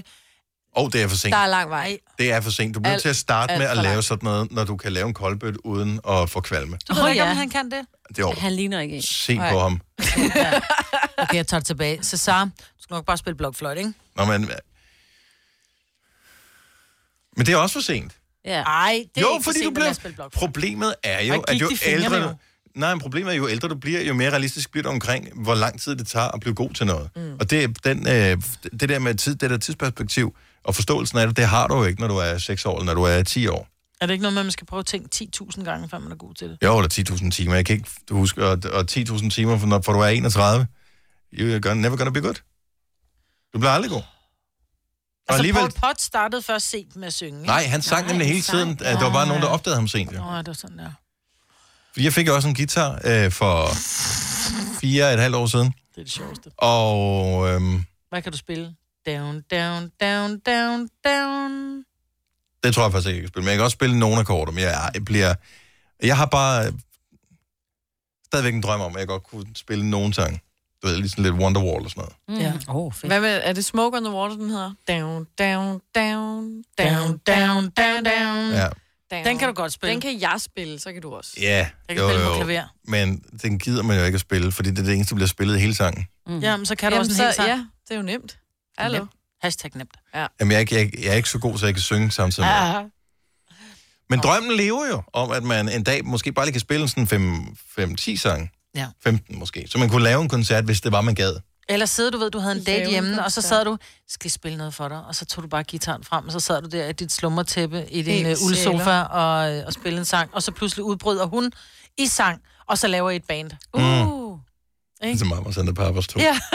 Og det er for sent.
lang vej.
Det er for sent. Du bliver
Alt-
nødt til at starte
alt
med at
for
lave
langt.
sådan noget, når du kan lave en koldbøt uden at få kvalme.
Du ved oh, ikke, om han kan det?
Det er over.
Han ligner ikke en.
Se på ham.
Okay, jeg tager det tilbage. Cesar, du skal nok bare spille blokfløjt, ikke?
Nå, men... Men det er også for sent.
Ja.
Ej, det er
jo,
ikke for
fordi
sent,
du
at lade spille
bliver...
blokfløjte.
Problemet er jo,
Og ikke
at jo
gik de fingre
ældre...
med
Du... Nej, men problemet er, jo ældre du bliver, jo mere realistisk bliver du omkring, hvor lang tid det tager at blive god til noget. Mm. Og det, er den, øh, det der med tid, det der tidsperspektiv og forståelsen af det, det har du jo ikke, når du er 6 år, eller når du er 10 år.
Er det ikke noget med, at man skal prøve at tænke 10.000 gange, før man er god til det?
Jo, der er 10.000 timer. Jeg kan ikke huske, og, og 10.000 timer, for, når, for du er 31. You're gonna, never gonna be good. Du bliver aldrig god. Og
Altså,
alligevel...
Paul Potts startede først sent med at synge, ikke?
Nej, han sang nemlig hele tiden. at Der var bare nogen, der opdagede ham sent. Jo.
Åh, det var sådan der.
Fordi Jeg fik også en guitar øh, for fire og et halvt år siden.
Det er det sjoveste.
Og øhm,
Hvad kan du spille? Down, down, down, down, down.
det tror jeg faktisk ikke, jeg kan spille. Men jeg kan også spille nogle akkorder, men jeg, jeg bliver... Jeg har bare øh, stadigvæk en drøm om, at jeg godt kunne spille nogen sang. Du ved, ligesom lidt Wonderwall og sådan noget.
Mm. Ja.
Oh,
Hvad med, er det Smoke on the Water, den hedder? Down, down, down,
Down, down, down, down.
Ja.
down.
Den kan du godt spille.
Den kan jeg spille, så kan du også.
Ja,
Jeg kan spille på klaver.
Men den gider man jo ikke at spille, fordi det er det eneste, der bliver spillet i hele sangen.
Mm. Jamen, så kan du
Jamen,
også en
så-
hel sang.
Ja, det er jo nemt. Hallo.
Nemt. Hashtag nemt.
Ja.
Jamen, jeg, er ikke- jeg, jeg er ikke så god, så jeg kan synge samtidig. med.
Ah.
Men drømmen lever jo om, at man en dag måske bare lige kan spille sådan 5-10 sange.
Ja.
15 måske. Så man kunne lave en koncert, hvis det var, man gad.
Eller sidder du ved, du havde en
Lave
date
en
hjemme, og så
koncert.
sad du, skal jeg spille noget for dig? Og så tog du bare gitaren frem, og så sad du der i dit slummertæppe i din
Helt
øh, uldsofa
sjæler.
og, øh, og spillede en sang. Og så pludselig udbryder hun i sang, og så laver I et band.
Mm.
Uh.
Ikke? Ligesom Mama Santa Papas 2.
Ja. <laughs>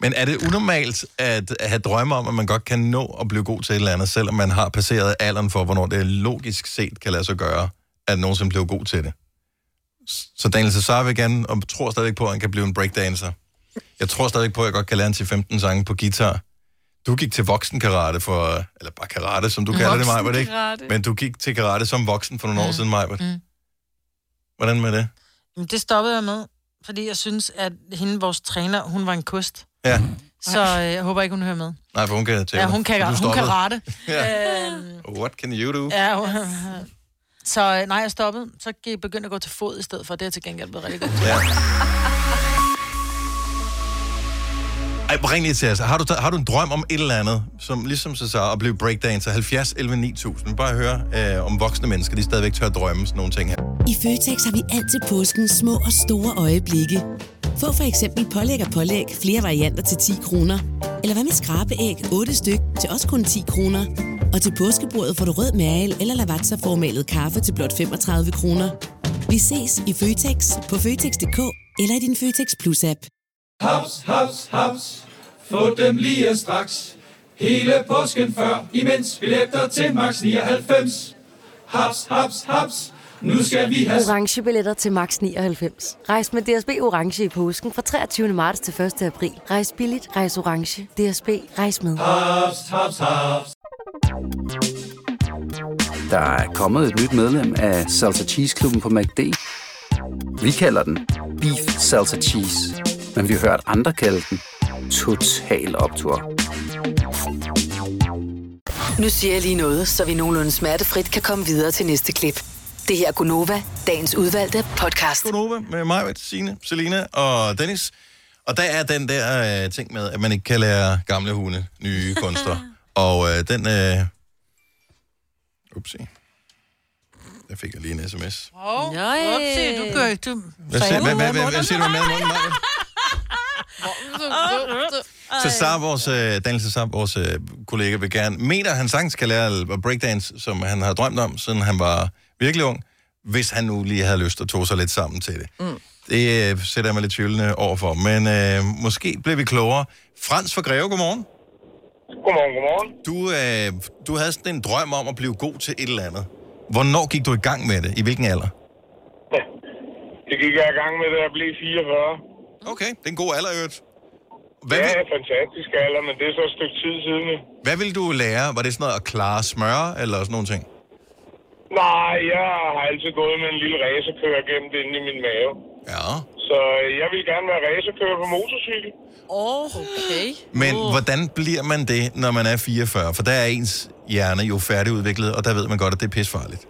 Men er det unormalt at have drømme om, at man godt kan nå at blive god til et eller andet, selvom man har passeret alderen for, hvornår det logisk set kan lade sig gøre, at nogen som bliver god til det? Så Daniel Cesar vil gerne, og tror stadigvæk på, at han kan blive en breakdancer. Jeg tror stadigvæk på, at jeg godt kan lære en til 15 sange på guitar. Du gik til voksenkarate for, eller bare karate, som du kalder det, Maja, var det ikke?
Voksenkarate.
Men du gik til karate som voksen for nogle år siden, Maja.
Mm.
Hvordan med det?
Jamen, det stoppede jeg med, fordi jeg synes, at hende, vores træner, hun var en kust.
Ja.
Så øh, jeg håber ikke, hun hører med.
Nej, for hun kan tæve
Ja,
dig.
hun kan,
Du
hun
stoppede.
kan rette. <laughs>
<laughs> Ja.
Øhm,
What can you do?
Ja, jo. <laughs> så øh, nej, jeg stoppede. Så gik- begyndte jeg at gå til fod i stedet for. Det er jeg til gengæld blevet rigtig godt.
Ja. Ej, hvor ring lige til os. Har du, har du en drøm om et eller andet, som ligesom så så at blive breakdancer? 70 11 9000. Bare høre øh, om voksne mennesker, de stadigvæk tør drømme sådan nogle ting her.
I Føtex har vi altid påsken små og store øjeblikke. Få for eksempel pålæg og pålæg flere varianter til 10 kroner. Eller hvad med skrabeæg 8 styk til også kun 10 kroner. Og til påskebordet får du rød mal eller lavatserformalet kaffe til blot 35 kroner. Vi ses i Føtex på Føtex.dk eller i din Føtex Plus-app.
Haps, haps, haps. Få dem lige straks. Hele påsken før, imens billetter til max 99. Haps, haps, haps. Nu skal vi have...
orange billetter til max 99. Rejs med DSB orange i påsken fra 23. marts til 1. april. Rejs billigt, rejs orange. DSB rejs med.
Haps, haps, haps.
Der er kommet et nyt medlem af Salsa Cheese Klubben på MACD. Vi kalder den Beef Salsa Cheese, men vi har hørt andre kalde den Total Optor.
Nu siger jeg lige noget, så vi nogenlunde smertefrit kan komme videre til næste klip. Det her er Gunova, dagens udvalgte podcast.
Gunova med mig, Signe, Selina og Dennis. Og der er den der øh, ting med, at man ikke kan lære gamle hunde nye kunster. og øh, den... Øh... Upsi. Der fik jeg lige en sms.
Åh, oh, upsi, du gør ikke... Du...
Hvad, siger, hvad, hvad, hvad, hvad siger du med munden, Maja? Så Sar, vores, øh, Daniel Cesar, vores øh, kollega, vil gerne, mener han sagtens kan lære at breakdance, som han har drømt om, siden han var virkelig ung, hvis han nu lige havde lyst og tog sig lidt sammen til det.
Mm.
Det øh, sætter jeg mig lidt tvivlende over for, men øh, måske bliver vi klogere. Frans fra Greve, godmorgen.
Godmorgen, godmorgen.
Du, øh, du havde sådan en drøm om at blive god til et eller andet. Hvornår gik du i gang med det? I hvilken alder?
Det gik jeg i gang med, da jeg blev 44.
Okay, det er en god alder, i øvrigt.
Hvad ja, fantastisk alder, men det er så et stykke tid siden. jo.
Hvad ville du lære? Var det sådan noget at klare smøre, eller sådan nogle ting?
Nej, jeg har altid gået med en lille racerkører gemt inde i min mave.
Ja.
Så øh, jeg vil gerne være racerkører på motorcykel.
Åh, oh, okay.
Men oh. hvordan bliver man det, når man er 44? For der er ens hjerne jo færdigudviklet, og der ved man godt, at det er pisfarligt.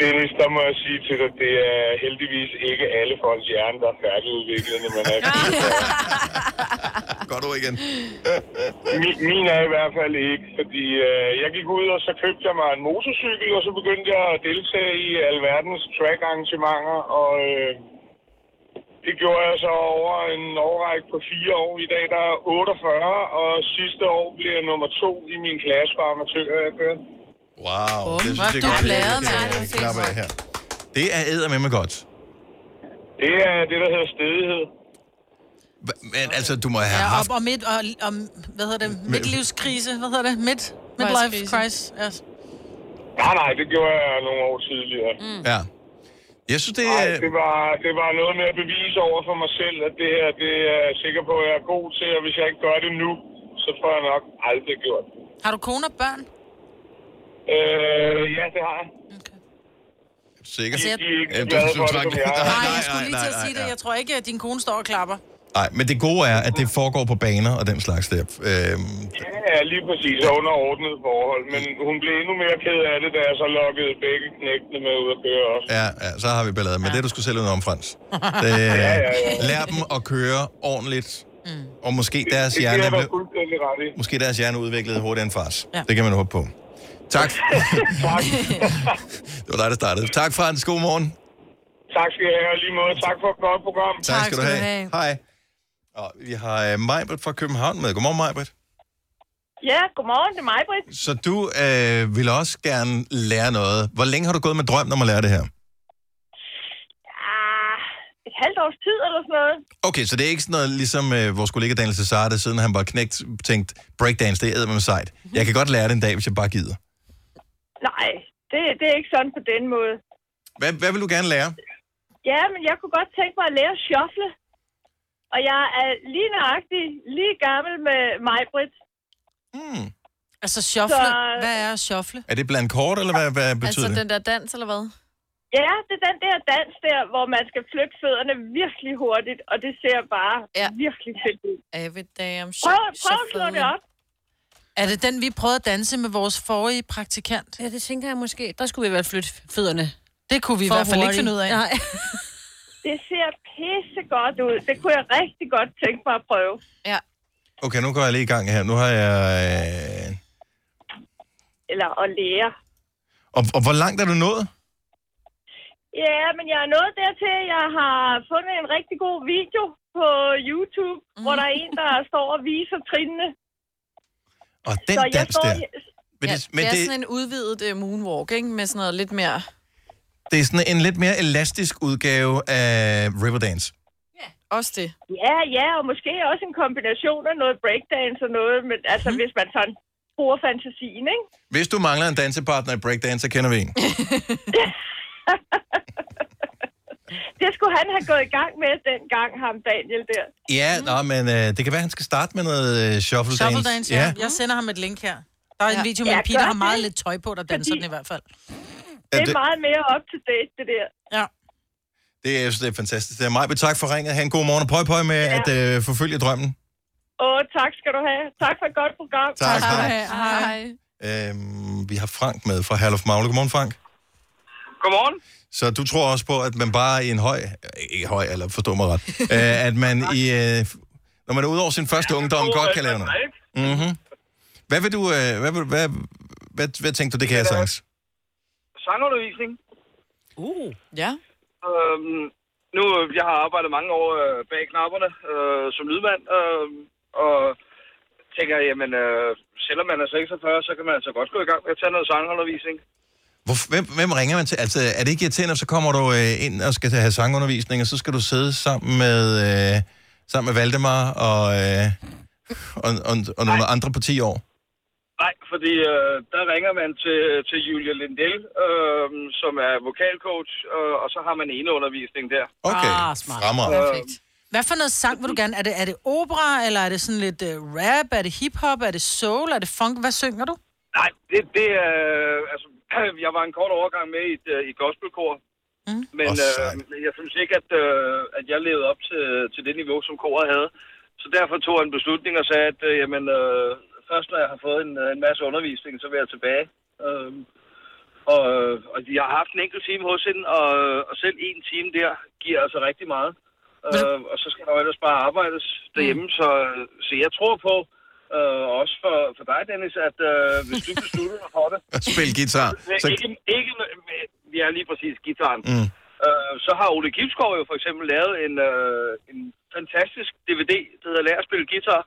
Dennis, der må jeg sige til dig, det er heldigvis ikke alle folks hjerne, der er færdigudviklet, når man er
Godt ord igen.
<laughs> min, min er i hvert fald ikke, fordi øh, jeg gik ud, og så købte jeg mig en motorcykel, og så begyndte jeg at deltage i alverdens track-arrangementer, og øh, det gjorde jeg så over en årrække på fire år. I dag der er 48, og sidste år blev jeg nummer to i min klasse for amatører. jeg kører.
Wow,
Bum,
det synes
hvor
jeg
er du
godt,
glad,
jeg
mand.
kan klappe af her. Det er æder med mig godt.
Det er det, der hedder stedighed.
Men altså, du må have
Ja,
haft...
op og midt, og, og hvad hedder det, midtlivskrise, hvad hedder det, midt, midlife crisis. Ja.
Nej, nej, det gjorde jeg nogle år tidligere.
Mm. Ja. Jeg synes, det...
Ej, det, var, det var noget med at bevise over for mig selv, at det her, det er jeg sikker på, at jeg er god til, og hvis jeg ikke gør det nu, så får jeg nok aldrig gjort det.
Har du kone og børn?
Øh, ja, det har jeg.
Sikker?
Altså, jeg- De er ikke
Øh,
glade for det,
trak-
som jeg er.
Nej,
Nej, jeg skulle lige
nej,
til at
nej,
sige det.
nej.
Jeg tror ikke, at din kone står og klapper.
Nej, men det gode er, at det foregår på baner og den slags der. Øhm,
Ja, lige præcis, og under ordnet forhold. Men hun blev endnu mere ked af det, da jeg så lukkede begge knægtene med ud at køre også.
Ja, ja, så har vi ballade. Men ja. det du skulle selv ud om, Frans. Det,
Ja, ja, ja.
Øh, Lær dem at køre ordentligt. Mm. Og måske deres,
Det
hjerne,
er der
blev-
fuldstændig ret i.
måske deres hjerne udviklede hurtigere end fars.
Ja.
Ja. Det kan man håbe på.
<laughs>
Tak. det var dig, der startede. Tak, Frans. God morgen.
Tak skal I have, og lige måde. Tak for et godt program.
Tak, tak skal du have. have. Hej. Og vi har uh, Majbert fra København med. Godmorgen, Majbert.
Ja, godmorgen, det er mig, Britt.
Så du øh, vil også gerne lære noget. Hvor længe har du gået med drømmen om at lære det her?
Et halvt års tid eller sådan noget.
Okay, så det er ikke sådan noget, ligesom øh, vores kollega Daniel Cesar, der siden han var knægt, tænkt, breakdance, det er med sejt. Jeg kan godt lære det en dag, hvis jeg bare gider.
Nej, det, det er ikke sådan på den måde.
Hvad, hvad vil du gerne lære?
Ja, men jeg kunne godt tænke mig at lære at shuffle. Og jeg er lige nøjagtig lige gammel med mig, Britt.
Hmm.
Altså shuffle.
Så- Altså,
Hvad er shuffle?
Er det blandt kort, eller hvad, hvad
Altså,
betyder det?
der dans, eller hvad? Ja, det er den der dans der, hvor man skal flytte fødderne virkelig hurtigt, og det ser bare
Ah,
ja. virkelig fedt ud.
Every day I'm
Prøv, prøv at slå det op.
Er det den, vi prøvede at danse med vores forrige praktikant? Ja, det tænker jeg måske. Der skulle vi i hvert fald flytte fødderne. Det kunne vi i
For
hvert fald ikke
hurtigt.
finde ud af.
Nej. Det ser pisse godt ud. Det kunne jeg rigtig godt tænke mig at prøve. Ja.
Okay, nu går jeg lige i gang her. Nu har jeg... Øh...
Eller at lære.
Og, og hvor langt er du nået?
Ja, men jeg er nået dertil, jeg har fundet en rigtig god video på YouTube, mm.
Mhm.
hvor der er en, der står og viser trinene.
Og den
Så jeg
dans
står
der,
i-
Men
ja,
det- men
det er
det-
sådan en udvidet uh, moonwalk, ikke? Med sådan noget lidt mere...
det er sådan en lidt mere elastisk udgave af Riverdance.
Også det.
Ja, ja, og måske også en kombination af noget breakdance og noget, men altså
Mhm.
mm. hvis man sådan bruger fantasien, ikke?
Hvis du mangler en dansepartner i breakdance, så kender vi en.
Det skulle han have gået i gang med dengang, ham Daniel der.
Ja, mm. nå, men øh, det kan være, han skal starte med noget øh, shuffle,
Shuffle dance, ja.
ja.
Jeg sender ham et link her. Der er en
Ja.
video med
Ja,
en pige, der
gør
har meget
det.
lidt tøj på, der danser den i hvert fald.
Ja, det-
meget mere up to date, det der.
Ja.
Det er, det er fantastisk. Det er mig. Tak for ringet. Ha' en god morgen, og prøv, prøv med ja. at øh, forfølge drømmen.
Åh, tak skal du have. Tak for et godt program.
Tak skal du
have. Hej.
Øhm, vi har Frank med fra Herlof Magle. Godmorgen, Frank.
Godmorgen.
Så du tror også på, at man bare i en høj... øh, Ikke høj, eller forstå mig ret. øh, at man i... Øh, når man er ude over sin første ungdom,
tror,
godt
at
kan
man
lave noget. Mm-hmm. Hvad vil du... Øh, hvad, vil, hvad, hvad, hvad tænkte du, det kan jeg sagtens?
Sangundervisning.
Uh, ja.
Øhm, nu, øh, jeg har arbejdet mange år øh, bag knapperne øh, som lydmand, øh, og tænker, jamen, øh, selvom man er 46, så kan man altså godt gå i gang med at tage noget sangundervisning.
Hvor, hvem, hvem ringer man til? Altså, er det ikke irriterende, at så kommer du øh, ind og skal have sangundervisning, og så skal du sidde sammen med, øh, sammen med Valdemar og, øh, og, og, og nogle andre på 10 år?
Nej, fordi øh, der ringer man til, til Julia Lindell, øh, som er vokalcoach, øh, og så har man ene undervisning der.
Okay,
ah, smart.
fremragende.
Perfekt. Hvad for noget sang vil du gerne? Er det, er det opera, eller er det sådan lidt uh, rap? Er det hiphop? Er det soul? Er det funk? Hvad synger du?
Nej, det, det er... Altså, <clears throat> jeg var en kort overgang med i, et, øh, i gospelkor,
Mm.
men
Åh,
øh, jeg synes ikke, at, øh, at jeg levede op til, til det niveau, som koret havde. Så derfor tog jeg en beslutning og sagde, at øh, jamen, øh, først når jeg har fået en, øh, en masse undervisning, så vil jeg tilbage. Øh, og, øh, og jeg har haft en enkelt time hos hende, og, og selv en time der giver altså rigtig meget. Øh, og så skal der jo ellers bare arbejdes derhjemme,
Mm.
så, så jeg tror på, øh, også for, for dig, Dennis, at øh, hvis du beslutter dig
<laughs>
for det,
Spil
<laughs>
guitar.
så... ikke, ikke med, med, ja, lige præcis gitaren.
Mm.
Øh, så har Ole Gibskov jo for eksempel lavet en, øh, en fantastisk DVD, der hedder Lær at spille guitar.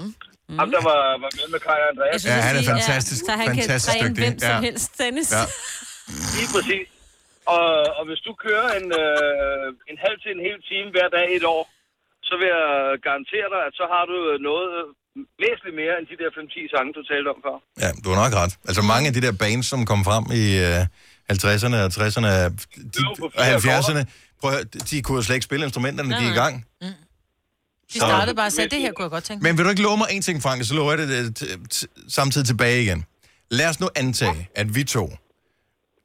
Mm. Ham, der var, var med med Kaj og Andreas.
Jeg synes, Ja, han er at sige, fantastisk, Altså, ja, så han kan fantastisk træne dygtig. hvem som Ja. helst,
Dennis.
Ja.
Lige præcis. Og, og hvis du kører en, øh, en halv til en hel time hver dag i et år, så vil jeg garantere dig, at så har du noget væsentligt mere end de der 5-10 sange, du talte om før.
Ja, du har nok ret. Altså mange af de der bands, som kom frem i øh, 50'erne og 60'erne og de, og 70'erne, prøv at høre, de kunne jo slet ikke spille instrumenterne, de er i gang.
De
Så-
Mm. startede bare og sagde, det her kunne jeg godt tænke. mig."
Men vil du ikke love mig en ting, Frank, så lover jeg det øh, t- t- samtidig tilbage igen. Lad os nu antage, at vi to,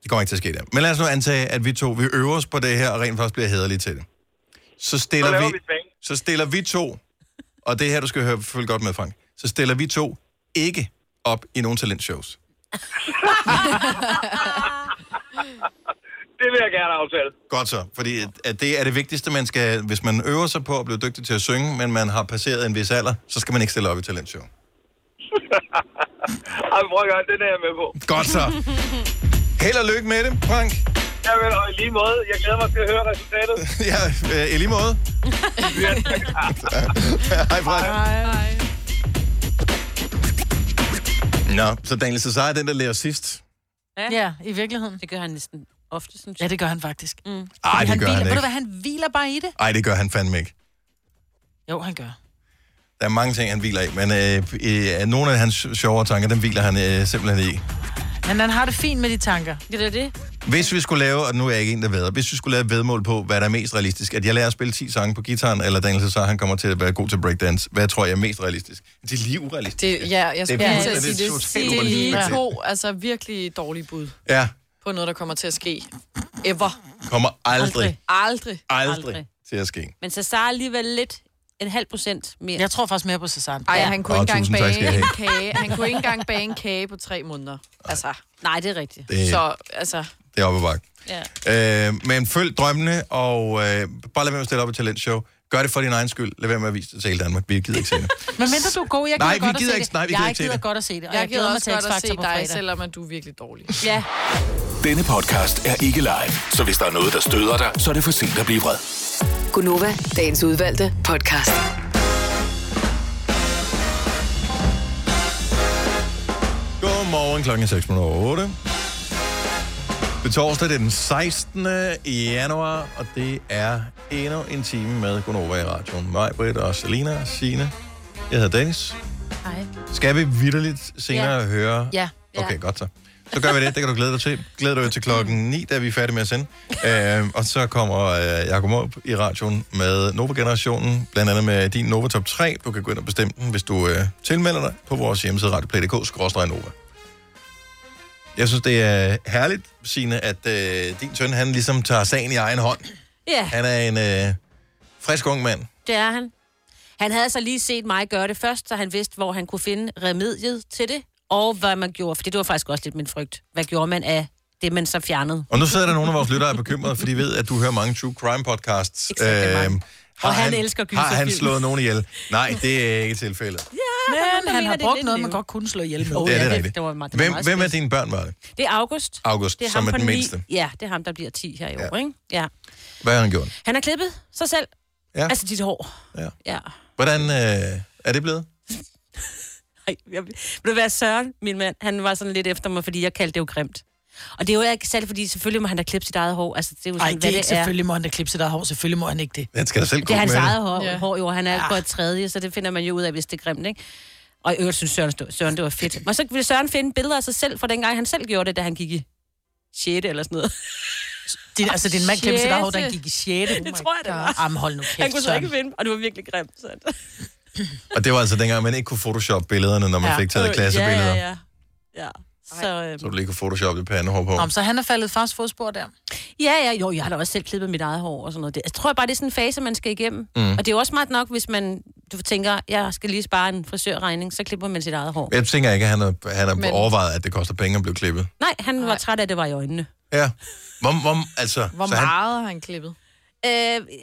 det kommer ikke til at ske der, men lad os nu antage, at vi to, vi øver os på det her, og rent faktisk bliver hederlige til det. Så
Så
stiller,
laver
vi,
vi et band.
så stiller vi to, og det er her, du skal høre, følge godt med, Frank, så stiller vi to ikke op i nogen talentshows.
Det vil jeg gerne aftale.
Godt så, fordi at- at det er det vigtigste, man skal, hvis man øver sig på at blive dygtig til at synge, men man har passeret en vis alder, så skal man ikke stille op i talentshow.
Ej, prøv at gøre, den er jeg med på.
Godt
<laughs>
så. Held og lykke med det, Frank.
Jamen, og i lige måde, jeg glæder mig til at høre
<laughs>
resultatet.
ja, øh, i lige
<laughs>
måde. Hej, Frank.
Hej.
Nå, så Daniel Cesar er den, der lærer sidst.
Ja. ja, i virkeligheden.
Det gør han næsten ofte, synes
jeg. Ja, det gør han faktisk. Mm. Ej,
Ej, det gør
hviler,
han
Ved du
ikke.
hvad, han hviler bare i det.
Nej, det gør han fandme ikke.
Jo, han gør.
Der er mange ting, han hviler i, men øh, øh, nogle af hans sjovere tanker, dem hviler han øh, simpelthen i.
Men han har det fint med de tanker.
Det er det.
Hvis vi skulle lave, og nu er jeg ikke en, der ved, hvis vi skulle lave et vedmål på, hvad der er mest realistisk, at jeg lærer at spille 10 sange på gitaren, eller Daniel Cesar, han kommer til at være god til breakdance, hvad tror jeg er mest realistisk? Det er lige urealistisk.
Det, ja, jeg skulle
det,
lige
er
til at sige,
fuldstændig
det,
totalt
det er lige
urealistisk.
to altså, virkelig dårlige bud
Ja,
på noget, der kommer til at ske. Ever.
kommer aldrig,
Aldrig.
aldrig, til at ske.
Men Cesar er alligevel lidt en halv procent mere.
Jeg tror faktisk mere på Cesar.
Ej, han kunne
Åh,
ikke engang
tusind tak skal
bage
I
en
have.
kage. Han kunne ikke engang bage en kage på tre måneder. Altså.
Nej, det er rigtigt.
Det-
Så, altså,
Det er oppe ad bakke.
ja.
Øh, men følg drømmene, og øh, bare lad være med at stille op i talentshow. Gør det for din egen skyld. Lad være med at vise det til hele Danmark. Vi gider ikke se det.
Men mindre du er god, jeg gider
Nej, vi
godt
gider
at se
ikke-
det.
nej, vi gider
jeg
ikke se
gider
det.
godt at se det. Og
Jeg, jeg
glæder
gider
mig til
også godt at
X-Factor
se
på
dig,
fredag.
selvom at du er virkelig dårlig.
Ja.
Denne podcast er ikke live, så hvis der er noget, der støder dig, så er det for sent at blive vred.
Gunova, dagens udvalgte podcast.
Godmorgen klokken er 6.08. Det er torsdag, det er den 16. januar, og det er endnu en time med Gunova i radioen. Mig, Britt og Selina, Signe. Jeg hedder Dennis.
Hej.
Skal vi vidderligt senere
Ja.
høre?
Ja.
Okay, godt så. Så gør vi det. Det kan du glæde dig til. Glæder du dig til klokken 9, da vi er færdige med at sende. Øh, og så kommer øh, Jacob op i radioen med Nova-generationen, blandt andet med din Nova Top 3. Du kan gå ind og bestemme den, hvis du øh, tilmelder dig på vores hjemmeside radioplay.dk-nova. Jeg synes, det er herligt, Signe, at øh, din søn, han ligesom tager sagen i egen hånd.
Ja,
Han er en øh, frisk ung mand.
det er han. Han havde så lige set mig gøre det først, så han vidste, hvor han kunne finde remediet til det, og hvad man gjorde. For det var faktisk også lidt min frygt. Hvad gjorde man af det, man så fjernede?
Og nu sidder der nogle af vores lyttere og er bekymrede, for de ved, at du hører mange true crime podcasts. Øhm, har
Og han elsker
Har han
gyserfilm.
slået nogen ihjel? Nej, det er ikke tilfældet.
Men han har brugt noget, man godt kunne slå ihjel med.
Oh, det er det rigtigt.
det var meget- det var
hvem,
meget
hvem er dine børn, var det?
Det er August.
August,
det er
som
ham
er
på
den
ni-
mindste.
Ja, det er ham, der bliver 10 her i år, ikke? Ja.
Hvad har han gjort?
Han har klippet sig selv.
Ja.
Altså dit hår.
Ja.
ja.
Hvordan øh, er det blevet?
Ej, jeg, vil du være Søren, min mand? Han var sådan lidt efter mig, fordi jeg kaldte det jo grimt. Og det er jo ikke særligt, fordi selvfølgelig må han da klippe sit eget hår. Altså, det er jo sådan,
Nej, det
hvad
er ikke selvfølgelig må han da klippe sit eget hår. Selvfølgelig må han ikke det.
Han skal da selv Ah.
Det er hans eget hår, ja. hår jo, og han er ja. på et tredje, så det finder man jo ud af, hvis det er grimt, ikke? Og i øvrigt synes Søren, stod- Søren det var fedt. Og så ville Søren finde billeder af sig selv fra dengang, han selv gjorde det, da han gik i 6. eller sådan
<laughs>
noget.
Din, altså, din mand klippede sit eget hår, da han
Sjette.
gik i 6.
Det tror jeg, det var.
Jamen, hold nu kæft,
Han kunne så
Søren.
ikke finde, og det var virkelig grimt. Så.
Og det var altså dengang, man ikke kunne photoshoppe billederne, når man ja. fik taget klassebilleder.
Ja, ja,
Ja, ja,
Øh,
ja.
ja. Så, øhm,
Så du lige kunne photoshoppe det pandehår på.
Om, så han er faldet fars fodspor der.
Ja, ja, jo, jeg har da også selv klippet mit eget hår og sådan noget. Det, jeg tror bare, det er sådan en fase, man skal igennem.
Mm.
Mm. Og det er jo også smart nok, hvis man du tænker, jeg skal lige spare en frisørregning, så klipper man sit eget hår.
Men Jeg tænker ikke, at han har, han har
Men-
overvejet, at det koster penge at blive klippet.
Nej, han var træt af, at det var i øjnene.
Ja. Hvor, hvor, altså, så han,
har han klippet? Øh,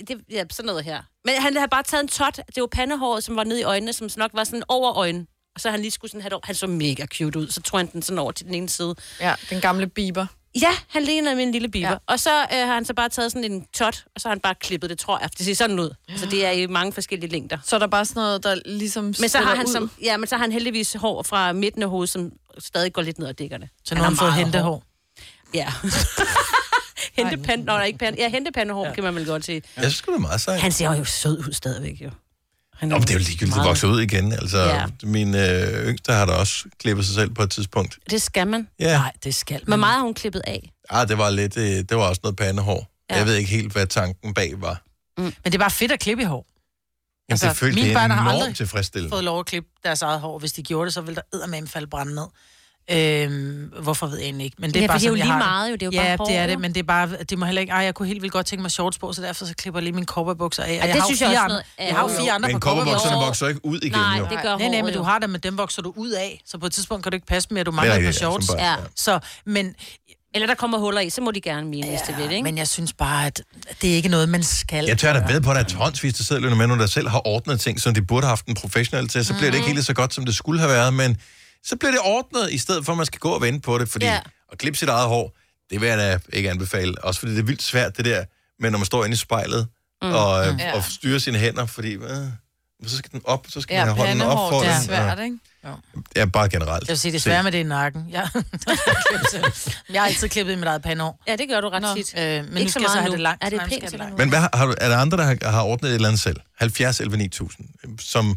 det, ja, sådan noget her. Men han havde bare taget en tot. Det var pandehåret, som var nede i øjnene, som nok var sådan over øjnene. Og så han lige skulle sådan have det over. Han så mega cute ud. Så tog han den sådan over til den ene side. Ja, den gamle biber. Ja, han lignede min lille biber. Ja. Og så øh, har han så bare taget sådan en tot, og så har han bare klippet det, tror jeg. Det ser sådan ud. Så det er i mange forskellige længder.
Så er der bare sådan noget, der ligesom
Men så
spiller
har han,
ud.
som, ja, men så har han heldigvis hår fra midten af hovedet, som stadig går lidt ned ad dækkerne.
Så nu har han fået
meget
hentehår.
Ja. <laughs> hentepande, nej, ikke pande. Ja, hentepandehår, ja. kan man vel godt sige.
jeg synes sgu, det er meget sejt.
Han ser jo sød ud stadigvæk, jo. Han
Nå, men det er jo ligegyldigt, det
meget-
vokser ud igen. Altså,
Ja.
min øh, yngste har da også klippet sig selv på et tidspunkt.
Det skal man.
Ja. Nej,
det skal
Hvor meget har hun klippet af?
Ah, det var lidt, øh, det var også noget pandehår.
Ja.
Ja. Jeg ved ikke helt, hvad tanken bag var.
Mm. Men det er bare fedt at klippe i hår.
Men altså, selvfølgelig,
mine
det er
børn har
enormt
aldrig
tilfredsstillende.
fået lov at klippe deres eget hår. Hvis de gjorde det, så ville der eddermame falde brænde ned. Øhm, hvorfor ved jeg egentlig ikke? Men det er
Ja, for
bare
det er jo
sådan, jeg
lige
har
meget jo, det er jo
ja,
bare hår,
det er
jo.
det, men det er bare, det må heller ikke, ej, jeg kunne helt vildt godt tænke mig shorts på, så derfor så klipper jeg lige mine cowboybukser af. Og
Ej, det
har jo
synes jeg
fire
også
andre-
noget af.
Jeg har jo
Jo, jo.
fire andre
Men
på
cowboybukserne vokser ikke ud igen,
Nej,
jo.
det gør nej, nej,
håret
men du
jo.
har dem, men dem vokser du ud af, så på et tidspunkt kan du ikke passe mere, du mangler
Det er
på
rigtigt, ja,
shorts.
som børn, ja.
Så, men,
Eller der kommer huller i, så må de gerne mine, ja, hvis det vil, ikke?
men jeg synes bare, at det er ikke noget, man skal
Jeg tør da ved på, at der er tonsvis, der sidder med nogen, der selv har ordnet ting, som de burde have haft en professionel til. Så bliver det ikke helt så godt, som det skulle have været, men så bliver det ordnet, i stedet for, at man skal gå og vente på det. Fordi
Ja.
at klippe sit eget hår, det vil jeg da ikke anbefale. Også fordi det er vildt svært, det der, men når man står inde i spejlet
Mm.
mm. og, øh,
Ja.
og styrer sine hænder, fordi øh, så skal den op, så skal
Ja,
man have hånden op for
pandehår, det er
den,
svært,
og-
ikke? Jo.
Ja, bare generelt.
Jeg vil sige, det svære med det er nakken. Jeg, jeg har altid klippet i mit eget pandehår.
Ja, det gør du ret Nå. tit.
Øh, men nu
Ikke så
skal jeg så
meget
have
nu.
det langt.
Er det
Nej, nu skal
pænt,
jeg have
Men hvad, har- har, du- er der andre, der har, har ordnet et eller andet selv? 70 11 9000, som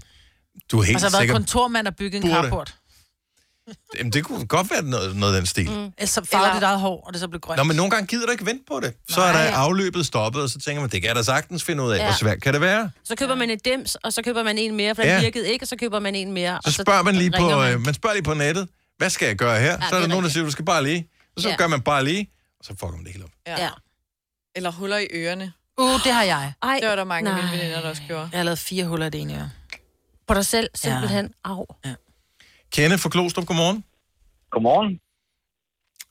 du er helt
altså, jeg har været
sikker...
kontormand og bygget en
Burde.
carport.
Jamen, det kunne godt være noget, noget af den stil. Mm.
Altså farvet dit eget hår, og det så blev grønt.
Nå, men nogle gange gider du ikke vente på det. Så er der afløbet stoppet, og så tænker man, det kan jeg da sagtens finde ud af.
Ja.
Ja. Hvor svært kan det være?
Så køber man et dims, og så køber man en mere, for den
Ja.
virkede ikke, og så køber man en mere.
Så
og
spørger man lige på, øh,
ringer
man. man spørger lige på nettet, hvad skal jeg gøre her? Ja, så er
det
der
er
nogen, der siger, du skal bare lige. Og så
Ja.
ja. gør man bare lige, og så fucker man det hele op.
Ja. ja. Eller huller i ørerne.
Uh, det har jeg.
Ej,
det var der mange af mine
nej.
veninder, der også gjorde.
Jeg har lavet fire huller i det ene øre.
På dig selv, simpelthen. Ja. Au.
Kenneth fra Klostrup, godmorgen.
Godmorgen.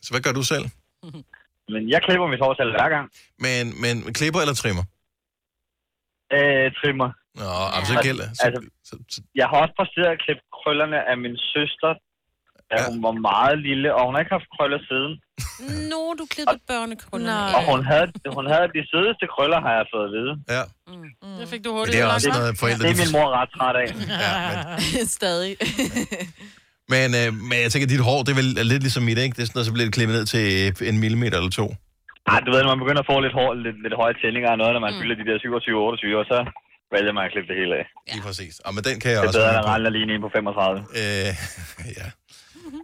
Så hvad gør du
<laughs>
selv?
Men jeg klipper mit hår selv hver gang.
Men, men klipper eller trimmer?
øh, trimmer.
Nå, jamen, så gælder. Så,
altså, jeg har også præsteret at klippe krøllerne af min søster, da ja. hun var meget lille, og hun har ikke haft krøller siden.
øhm,
Nå, du klippede børnekrullerne.
Og hun havde, hun havde de sødeste krøller, har jeg fået at vide.
Ja.
Mm.
Det fik du
Men
hurtigt.
det er
ødelagt,
også
hva'?
noget, forældre...
Det er min mor ret træt af.
<laughs>
Stadig.
Men, øh, men jeg tænker, at dit hår, det er vel er lidt ligesom mit, ikke? Det er sådan noget, så bliver det klippet ned til øh, en millimeter eller to.
Ej, du ved, når man begynder at få lidt, hår, lidt, lidt høje tændinger og noget, når man mm. fylder de der 27-28 år, så vælger man at klippe det hele af.
Ja. Lige præcis. Og men den kan jeg
det er
også
bedre,
være
end at
på.
rende lige ind på 35.
Øh, ja.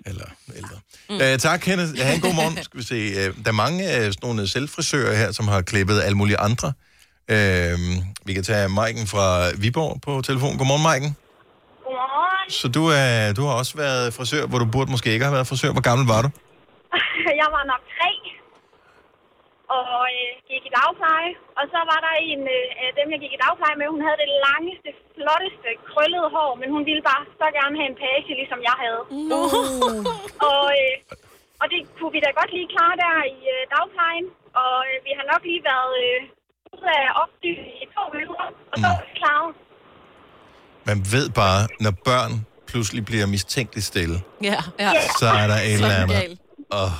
Eller ældre. Mm. Øh, tak, Kenneth. Ha' en god morgen. Skal vi se. Øh, der er mange af sådan nogle øh, selvfrisører her, som har klippet alle mulige andre. Øh, vi kan tage Maiken fra Viborg på telefon. Godmorgen, Maiken.
Godmorgen.
Så du, øh, du har også været frisør, hvor du burde måske ikke have været frisør. Hvor gammel var du?
<laughs> Jeg var nok tre, og øh, gik i dagpleje. Og så var der en øh, af dem, jeg gik i dagpleje med, hun havde det langeste, flotteste, krøllede hår, men hun ville bare så gerne have en page, ligesom jeg havde. No. <laughs> og, øh, og det kunne vi da godt lige klare der i øh, dagplejen, og øh, vi har nok lige været øh, ude af opdyb i to minutter, og
Mm.
så var vi klaret.
Man ved bare, når børn pludselig bliver mistænkeligt stille,
Ja. ja.
så er der et eller andet. Åh,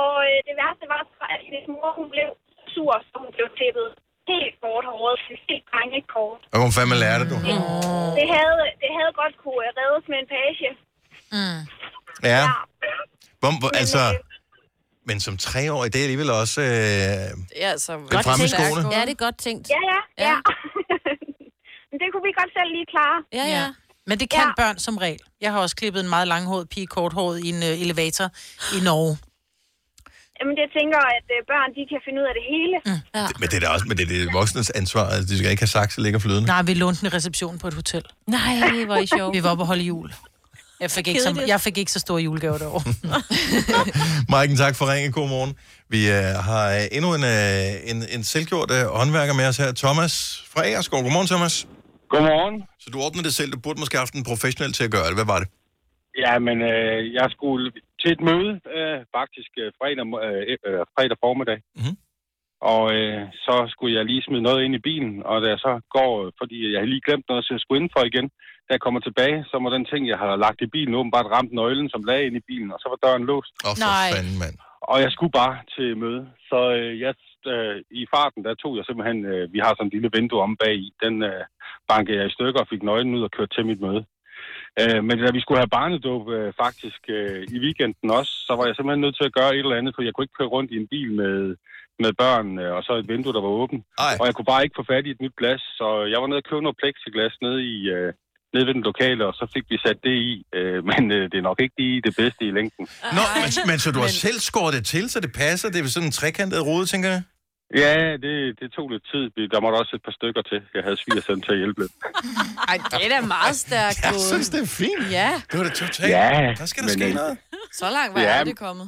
Og øh, det værste var, så, at hendes mor hun blev sur, så hun blev tippet helt kort håret, helt drengekort.
og hun fandme lærer det, du.
Det, det, havde, det havde godt kunne øh, reddes med en page. Mm.
Ja. Hvor, hvor, altså, men som treårig, det er alligevel også... Øh,
Ja, så
Lidt fremme i skoene.
Ja, det er godt tænkt.
Ja, ja, ja. Men det kunne vi godt selv lige klare.
Ja, ja.
Men det kan ja. børn som regel. Jeg har også klippet en meget langhåret pige korthåret i en øh, elevator i Norge.
Jamen, det tænker at øh, børn, de kan finde ud af det hele. Mm.
Ja.
men det er da også men det, er det voksnes ansvar. Altså, de skal ikke have sakse ligger flydende.
Nej, vi lånte en reception på et hotel.
Nej, hvor er I sjov.
Vi var oppe og holde jul. Jeg fik, ikke så,
Kedeligt.
jeg fik ikke så store julegaver derovre.
Maiken, tak for ringen. God morgen. Vi øh, har øh, endnu en, øh, en, en selvgjort øh, håndværker med os her. Thomas fra Agerskov. Godmorgen, Thomas.
Godmorgen.
Så du ordnede det selv. Du burde måske have haft en professionel til at gøre det. Hvad var det?
Ja, men øh, jeg skulle til et møde, øh, faktisk øh, fredag, mo- øh, øh, fredag formiddag.
Mm-hmm.
Og øh, så skulle jeg lige smide noget ind i bilen, og da jeg så går, øh, fordi jeg havde lige glemt noget, så jeg skulle indenfor igen. Da jeg kommer tilbage, så må den ting, jeg havde lagt i bilen, åbenbart ramt nøglen, som lagde ind i bilen, og så var døren låst.
Åh,
for Nej. fanden,
mand.
Og jeg skulle bare til møde, så øh, jeg, øh, i farten, der tog jeg simpelthen, øh, vi har sådan en lille vindue om bag i, den øh, bankede jeg i stykker og fik nøglen ud og kørte til mit møde. Øh, men da vi skulle have barnedåb øh, faktisk øh, i weekenden også, så var jeg simpelthen nødt til at gøre et eller andet, for jeg kunne ikke køre rundt i en bil med, med børn, øh, og så et vindue, der var åbent.
Ej.
Og jeg kunne bare ikke få fat i et nyt glas, så jeg var nede og købte noget plexiglas nede, i, øh, nede ved den lokale, og så fik vi sat det i. Øh, <laughs> men øh, det er nok ikke lige det bedste i længden.
Nå, men, men så du har selv skåret det til, så det passer. Det er vel sådan en trekantet rode, tænker jeg.
Ja, det, det tog lidt tid. Der måtte også et par stykker til. Jeg havde svigersendt til at hjælpe lidt.
<laughs> Ej, det er da meget stærkt.
Jeg synes,
det er fint.
Ja.
Det var da totalt.
Ja,
der skal der
men,
ske
øh,
noget.
Så langt var
Ja.
jeg aldrig kommet.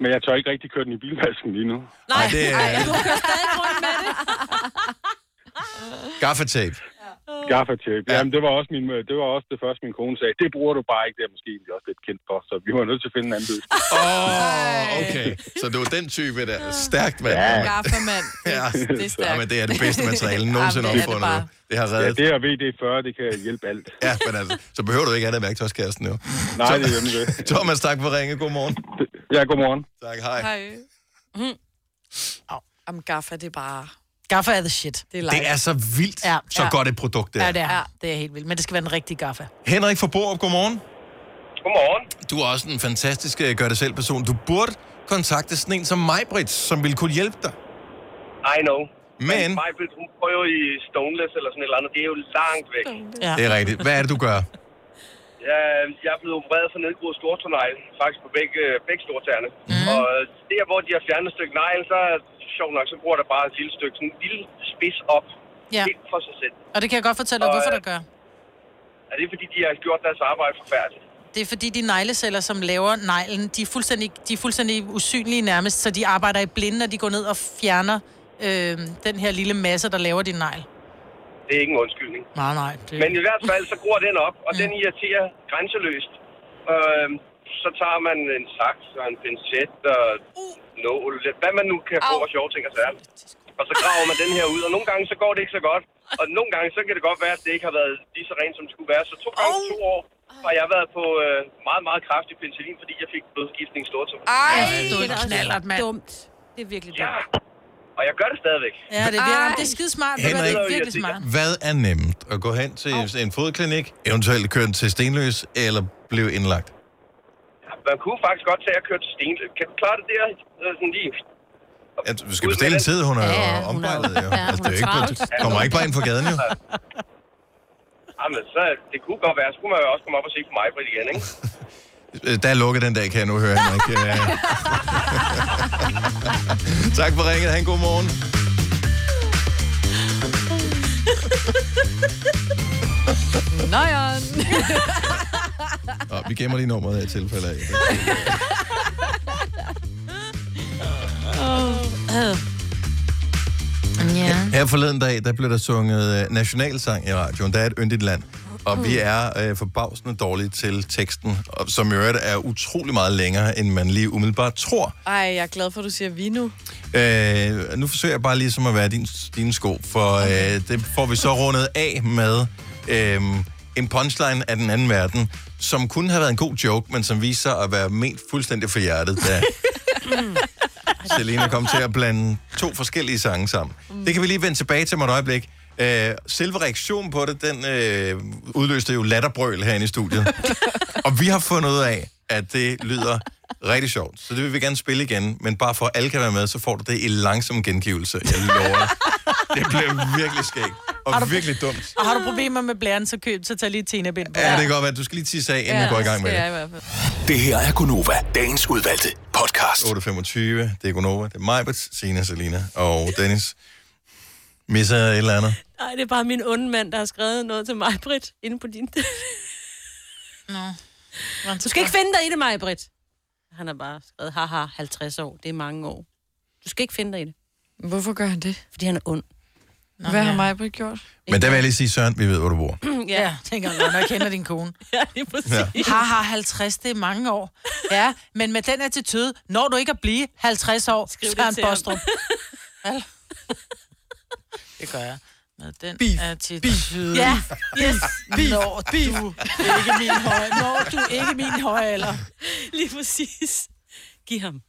Men jeg tør ikke rigtig køre den i bilvasken lige nu.
Nej, det er
Du kører stadig rundt med det.
<laughs> gaffatape.
Gaffatape. Ja. Jamen, det var, også min, øh, det var også det første, min kone sagde. Det bruger du bare ikke. Det er måske egentlig også lidt kendt for, så vi var nødt til at finde en anden løsning.
Åh, oh, okay. <laughs> Så du er den type der. Stærkt, mand.
Ja.
Gaffermand.
<laughs> Ja,
Det er stærkt.
Ja, men det er det bedste
<laughs>
materiale nogensinde
Jamen, det er det
opfundet. Det, det har reddet.
Ja, det og VD40, det kan hjælpe alt.
Ja, men altså, så behøver du ikke andet værktøjskassen jo.
Nej,
Så-
det er nemlig det.
Thomas, tak for ringe. God morgen.
Ja, god morgen.
Tak, hej.
Hej. Mm. Au. Jamen, gaffa, det er bare...
Gaffa er the shit.
Det er,
Det er så vildt, ja, så godt et produkt det
det er.
er.
Ja, det er. Det er helt vildt. Men det skal være den rigtige gaffa.
Henrik fra Borup, godmorgen.
Godmorgen.
Du er også en fantastisk øh, gør-det-selv-person. Du burde kontakte sådan en som mig, Britt, som ville kunne hjælpe dig.
I know.
Men...
Majbrit, hun prøver jo i Stoneless eller sådan et eller andet. Det er jo langt væk.
Ja. Det er rigtigt. Hvad er det, du gør?
Jeg, jeg er blevet opereret for nedgroet stortånegl, faktisk på begge, begge stortæerne. Mm.
Mhm.
Og der, hvor de har fjernet et stykke negl, så er sjovt nok, så bruger der bare et lille stykke, sådan en lille spids op.
Ja.
Helt for sig selv.
Og det kan jeg godt fortælle dig,
Og,
hvorfor
øh,
der gør.
Er det fordi, de har gjort deres arbejde forfærdeligt?
Det er fordi de negleceller, som laver neglen, de er fuldstændig, de er fuldstændig usynlige nærmest, så de arbejder i blinde, når de går ned og fjerner øh, den her lille masse, der laver din negl.
Det er ikke en undskyldning.
Nej, nej. Det...
Men i hvert fald, så gror den op, og den irriterer grænseløst. Øh, så tager man en
Uh.
saks og en pincet og nål, lidt- hvad man nu kan få af sjove ting og sager. Og så graver man den her ud, og nogle gange så går det ikke så godt. Og nogle gange så kan det godt være, at det ikke har været lige så rent, som det skulle være. Så to gange oh. to år har jeg været på øh, meget, meget kraftig penicillin, fordi jeg fik blodforgiftning i stortum.
Ej, det er knallert, mand. Dumt.
Det er virkelig dumt. Ja.
Og jeg gør det stadigvæk.
Ja, det er virkelig, det er skidesmart. Det er
Henrik.
virkelig smart.
Hvad er nemt? At gå hen til en fodklinik, eventuelt køre til Stenløs, eller blive indlagt?
Man kunne faktisk godt tage at køre til Sten. Kan du klare det der? Øh, Sådan lige.
Ja, du skal bestille en tid, hun er
Ja,
ja,
ja, hun er-
ombejlet. Jo.
<laughs> ja,
Altså,
hun
det
er
er ikke, bare-
travlt.
du kommer ikke bare ind fra gaden, jo.
Jamen, så det kunne godt være. Så kunne man jo også komme op og se på mig på igen, ikke?
Øh, Der er lukket den dag, kan jeg nu høre, Henrik.
<laughs>
Ja. <laughs> tak for ringet. Ha' en god morgen.
Nøjeren.
Nå, vi gemmer lige nummeret af tilfælde
<laughs>
af.
Ja.
Her forleden dag, der blev der sunget øh, nationalsang i radioen. Der er et yndigt land. Og vi er øh, forbavsende dårlige til teksten, og som i øvrigt er utrolig meget længere, end man lige umiddelbart tror.
Ej, jeg er glad for, at du siger vi nu.
Øh, nu forsøger jeg bare ligesom at være din, dine sko, for øh, det får vi så rundet af med øh, en punchline af den anden verden, som kunne have været en god joke, men som viser sig at være ment fuldstændig for hjertet, da Selena kom til at blande to forskellige sange sammen. Det kan vi lige vende tilbage til om et øjeblik. Øh, selve reaktionen på det, den øh, udløste jo latterbrøl herinde i studiet. <laughs> og vi har fundet ud af, at det lyder rigtig sjovt. Så det vil vi gerne spille igen, men bare for at alle kan være med, så får du det i langsom gengivelse. Jeg lover dig. Det bliver virkelig skægt og virkelig dumt.
Og har du problemer med blæren, så køb, så tag lige Tina Bind på.
Ja, det kan godt være, du skal lige tisse af, inden ja, vi går i gang med det.
hvert fald.
Det her er Gunova, dagens udvalgte podcast. 8.25, det er Gunova, det er Majbert, Sina, Selina og Dennis. Misser jeg et eller andet?
Nej, det er bare min onde mand, der har skrevet noget til mig, Britt, inde på din...
Nå.
Du skal ikke finde dig i det, mig, Britt. Han har bare skrevet, haha, 50 år, det er mange år. Du skal ikke finde dig i det.
Hvorfor gør han det?
Fordi han er ond.
Nå, Hvad har mig Britt gjort?
Men der vil jeg lige sige, Søren, vi ved, hvor du bor.
<clears throat> ja. ja, tænker jeg, når jeg kender din <laughs> kone.
ja, det er
præcis. Ja.
Haha, 50, det er mange år. Ja, men med den attitude, når du ikke at blive 50 år, Skriv
det
Søren
til ham.
Bostrup. <laughs> Vel? Det gør jeg. Med den beef, attitude. Beef. Ja, yes. Beef, når beef. du ikke min høje, når du ikke min høje alder.
<laughs> Lige præcis. Giv ham.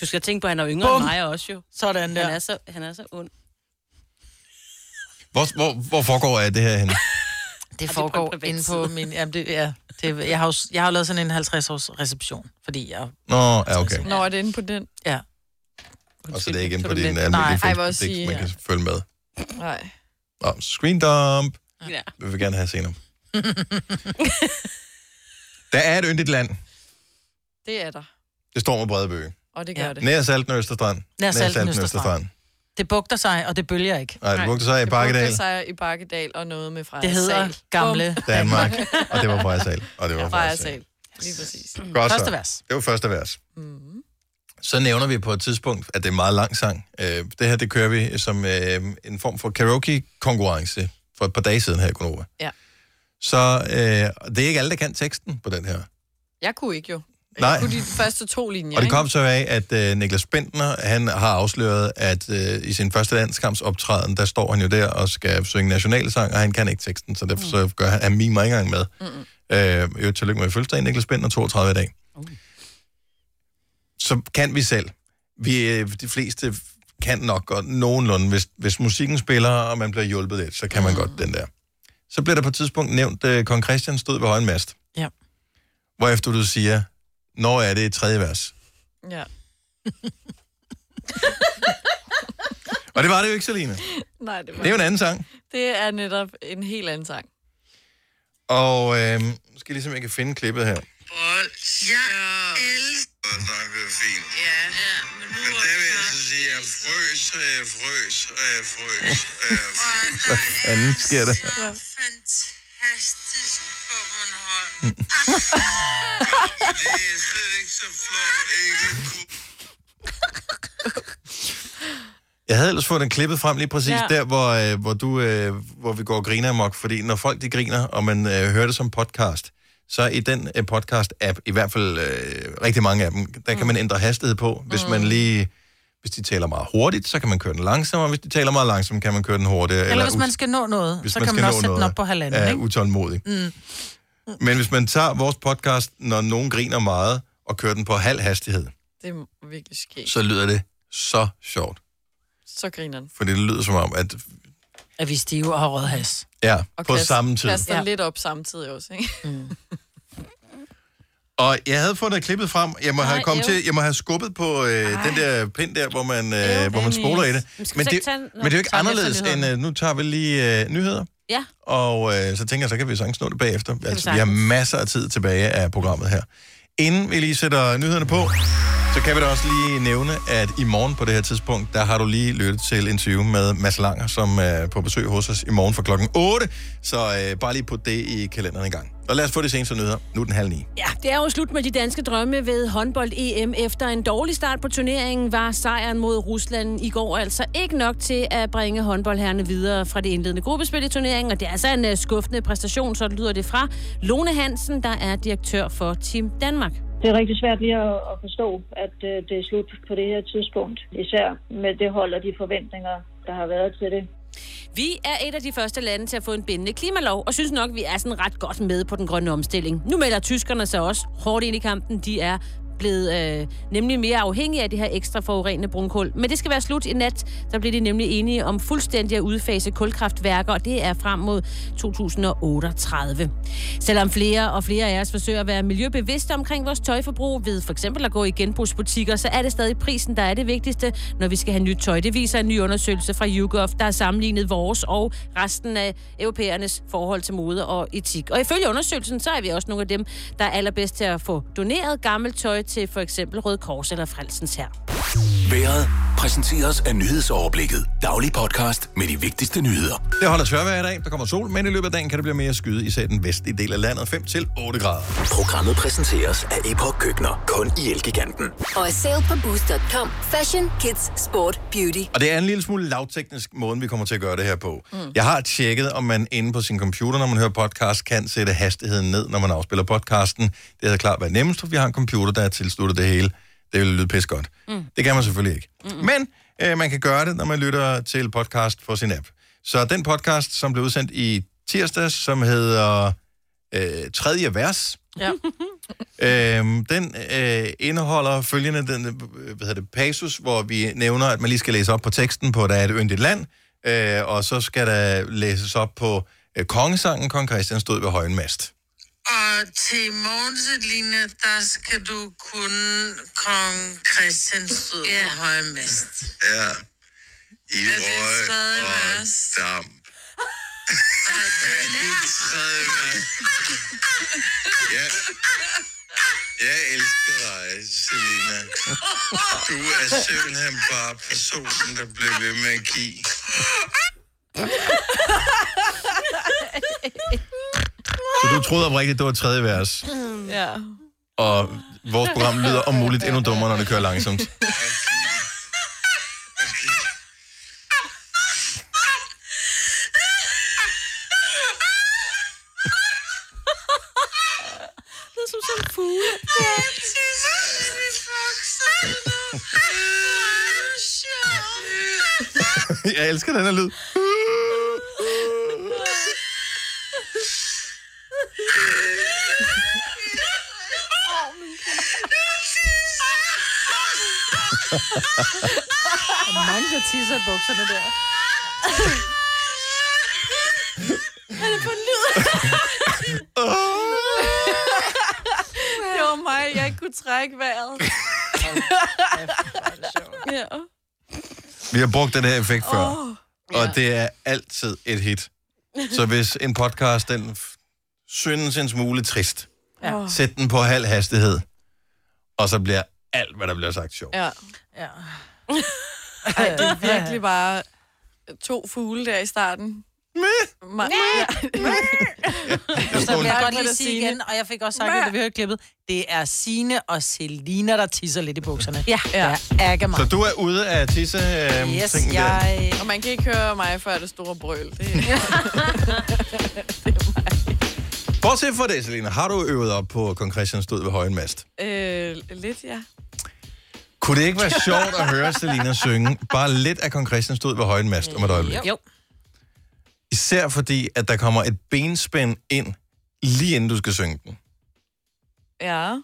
Du skal tænke på, at han er yngre Bum.
Bum.
end mig også jo.
Sådan der.
Han er så, han er så ond.
Hvor, hvor, hvor foregår er det her henne?
Det foregår det inde på min... Jamen det, ja, det, jeg, har jo, s- jeg har jo lavet sådan en 50-års reception, fordi jeg... Altså,
Nå, ja, okay.
Nå, er det inde på den?
Ja.
Og så er det ikke inde på
Så er det
din
lidt-
Nej,
almindelige
ej, hvor
Facebook,
sige,
man kan
ja.
følge med.
Nej.
Nå, screen dump.
Ja.
Vi vil gerne have senere. Der er et yndigt land.
<laughs> Det er der.
Det står med brede bøge.
Og det gør ja. det.
Nær Salten og Østerstrand.
Nær Salten, Det bugter sig, og det bølger ikke.
Nej, det bugter sig i Bakkedal,
Det sig i Bakkedal og noget med Freja
Det hedder
Sal.
Gamle
Bum. <laughs>
Danmark. Og det var Freja Sal. Og det var
Freja
Freja
Sal. Lige præcis.
Mm, Godt så. Det var første vers. Mm. Så nævner vi på et tidspunkt, at det er en meget lang sang. Øh, det her, det kører vi som øh, en form for karaoke-konkurrence for et par dage siden her i Konova.
Ja.
Så øh, det er ikke alle, der kan teksten på den her.
Jeg kunne ikke jo.
Nej.
Jeg kunne de første to linjer,
Og det kom så af, at øh, Niklas Bentner, han har afsløret, at øh, i sin første landskampsoptræden, der står han jo der og skal synge nationalsang, og han kan ikke teksten, så derfor så gør han, han mimer ikke engang med. Mm-mm. Øh, jo, tillykke med fødselsdagen, Niklas Bentner, 32 i dag. Så kan vi selv. Vi, øh, de fleste kan nok godt nogenlunde, hvis, hvis musikken spiller, og man bliver hjulpet lidt, så kan man godt den der. Så bliver der på et tidspunkt nævnt, at øh, kong Christian stod ved højen mast.
Ja.
Hvorefter du siger, når er det i tredje vers?
Ja.
Og det var det jo ikke, Selina.
<laughs> Nej, det var
Det er jo en anden sang.
Det er netop en helt anden sang.
Og øh, nu skal jeg ligesom, jeg kan finde klippet her.
Bold. Ja. elsker.
Nej, det er fint.
Ja. ja, men nu
Men der vil jeg så sige, at jeg frøs, og jeg frøs, og jeg frøs. og jeg frøs.
Hvad fanden sker der?
er det fantastisk på Bornholm. det er slet ikke så flot, ikke?
Jeg havde ellers fået den klippet frem lige præcis ja.
Ja.
der, hvor, øh, hvor, du, øh, hvor vi går og griner amok. Fordi når folk de griner, og man øh, hører det som podcast, så i den øh,
Mm.
podcast-app, i hvert fald øh, rigtig mange af dem, der kan man ændre hastighed på, hvis man lige Hvis de taler meget hurtigt, så kan man køre den langsommere. Hvis de taler meget langsomt, kan man køre den hurtigere.
Eller hvis
ut-
man skal nå noget,
hvis
så kan man
skal
også
nå
sætte den
noget,
op på halvanden,
er
ikke?
utålmodig.
Mm.
Men hvis man tager vores podcast, når nogen griner meget, og kører den på halv hastighed,
Det er virkelig skægt.
så lyder det så sjovt.
Så griner den.
For det lyder som om, at
At vi er stive og har rød has.
ja,
Og
på
kaster-
samme tid.
Kaster ja. lidt op samtidig også, ikke? Mm.
Og jeg havde fået det klippet frem. Jeg må, have,
Nej,
kommet
ew.
til, jeg må have skubbet på øh, den der pind der, hvor man, øh, hvor man
Dennis.
spoler i det.
Men skal vi
Men
så
det,
ikke tage- Nå,
men det er jo ikke
tager vi efter
anderledes end,
nyhederne.
øh, nu tager vi lige øh, nyheder,
Ja.
og øh, så tænker jeg, så kan vi sagtens nå det bagefter. Altså, vi har
sagtens.
masser af tid tilbage af programmet her. Inden vi lige sætter nyhederne på, så kan vi da også lige nævne, at i morgen på det her tidspunkt, der har du lige lyttet til interview med Mads Langer, som er på besøg hos os i morgen fra klokken 8. Så øh, bare lige put det i kalenderen en gang. Og lad os få de seneste nyheder. Nu er den halv ni.
Ja, det er jo slut med de danske drømme ved håndbold-EM. Efter en dårlig start på turneringen var sejren mod Rusland i går altså ikke nok til at bringe håndboldherrene videre fra det indledende gruppespil i turneringen. Og det er altså en øh, skuffende præstation, så lyder det fra Lone Hansen, der er direktør for Team Danmark.
Det er rigtig svært lige at, at forstå, at øh, det er slut på det her tidspunkt. Især med det hold og de forventninger, der har været til det.
Vi er et af de første lande til at få en bindende klimalov, og synes nok, vi er sådan ret godt med på den grønne omstilling. Nu melder tyskerne sig også hårdt ind i kampen. De er blevet øh, nemlig mere afhængige af det her ekstra forurenende brunkul. Men det skal være slut i nat. Der bliver de nemlig enige om fuldstændig at udfase kulkraftværker, og det er frem mod 2038. Selvom flere og flere af os forsøger at være miljøbevidste omkring vores tøjforbrug, ved for eksempel at gå i genbrugsbutikker, så er det stadig prisen, der er det vigtigste, når vi skal have nyt tøj. Det viser en ny undersøgelse fra YouGov, der har sammenlignet vores og resten af europæernes forhold til mode og etik. Og ifølge undersøgelsen, så er vi også nogle af dem, der er allerbedst til at få doneret gammelt tøj til for eksempel Røde Kors eller Frelsens her.
Været præsenteres af nyhedsoverblikket. Daglig podcast med de vigtigste nyheder.
Det holder tørvejr i dag. Der kommer sol, men i løbet af dagen kan det blive mere skyde, især i den vestlige del af landet. 5-8 grader.
Programmet præsenteres af Epoch Køkkener. Kun i Elgiganten.
Og er sale på boost.com. Fashion, kids, sport, beauty.
Og det er en lille smule lavteknisk måde, vi kommer til at gøre det her på. Mm.
Mm.
Jeg har tjekket, om man inde på sin computer, når man hører podcast, kan sætte hastigheden ned, når man afspiller podcasten. Det havde klart været nemmest, for vi har en computer, der er tilsluttet det hele. Det ville lyde pis godt. Mm. Det kan man selvfølgelig ikke. Mm-mm. Men øh, man kan gøre det, når man lytter til podcast på sin app. Så den podcast, som blev udsendt i tirsdags, som hedder øh, Tredje Vers,
Ja.
Øhm, den øh, indeholder følgende den, øh, hvad hedder det, passus, hvor vi nævner, at man lige skal læse op på teksten på, der er et yndigt land, øh, og så skal der læses op på øh, kongesangen, kong Christian stod ved højen mast.
Og til morgen, Selina, der skal du kunne kong Christian stod ja. på højmest.
Ja. I
Er det
røg
tredje
og
vers?
damp. <laughs> Er det tredje vers? Ja. Jeg elsker dig, Selina. Du er simpelthen bare personen, der blev ved med at give.
Så du troede oprigtigt, det var tredje vers,
ja.
og vores program lyder om muligt endnu dummere, når det kører langsomt. <laughs>
Det er som sådan en fugle. <laughs>
er er
Jeg elsker den her lyd.
Der er mange, der tisser i bukserne der.
Er det <laughs> på en lyd? <laughs> det var mig, jeg ikke kunne trække <laughs> vejret. ja.
Vi har brugt den her effekt før,
Åh,
og det er altid et hit. Så hvis en podcast, den f- synes en smule trist,
Ja.
Sæt den på halv hastighed, og så bliver alt, hvad der bliver sagt, sjovt.
Ja.
ja.
<laughs> Ej, det er virkelig bare to fugle der i starten. Ma- ja.
Og så vil jeg
Ej,
godt
hvor er
lige
det
sige
Signe.
igen, og jeg fik også sagt, at vi hørte klippet, det er Sine og Selina, der tisser lidt i bukserne. Ja. ja. Ærger mig.
Så du er ude af tisse øh,
Yes,
tingen der.
jeg-
Og man kan ikke høre mig før det store brøl. Det
<laughs>
Bortset fra det, Selina, har du øvet op på, at kong Christian stod ved højen mast?
er, øh, lidt, ja.
Kunne det ikke være sjovt at høre Selina synge? Bare lidt af Kong Christian stod ved højen mast om et øjeblik.
Jo.
Især fordi, at der kommer et benspænd ind, lige inden du skal synge den.
Ja,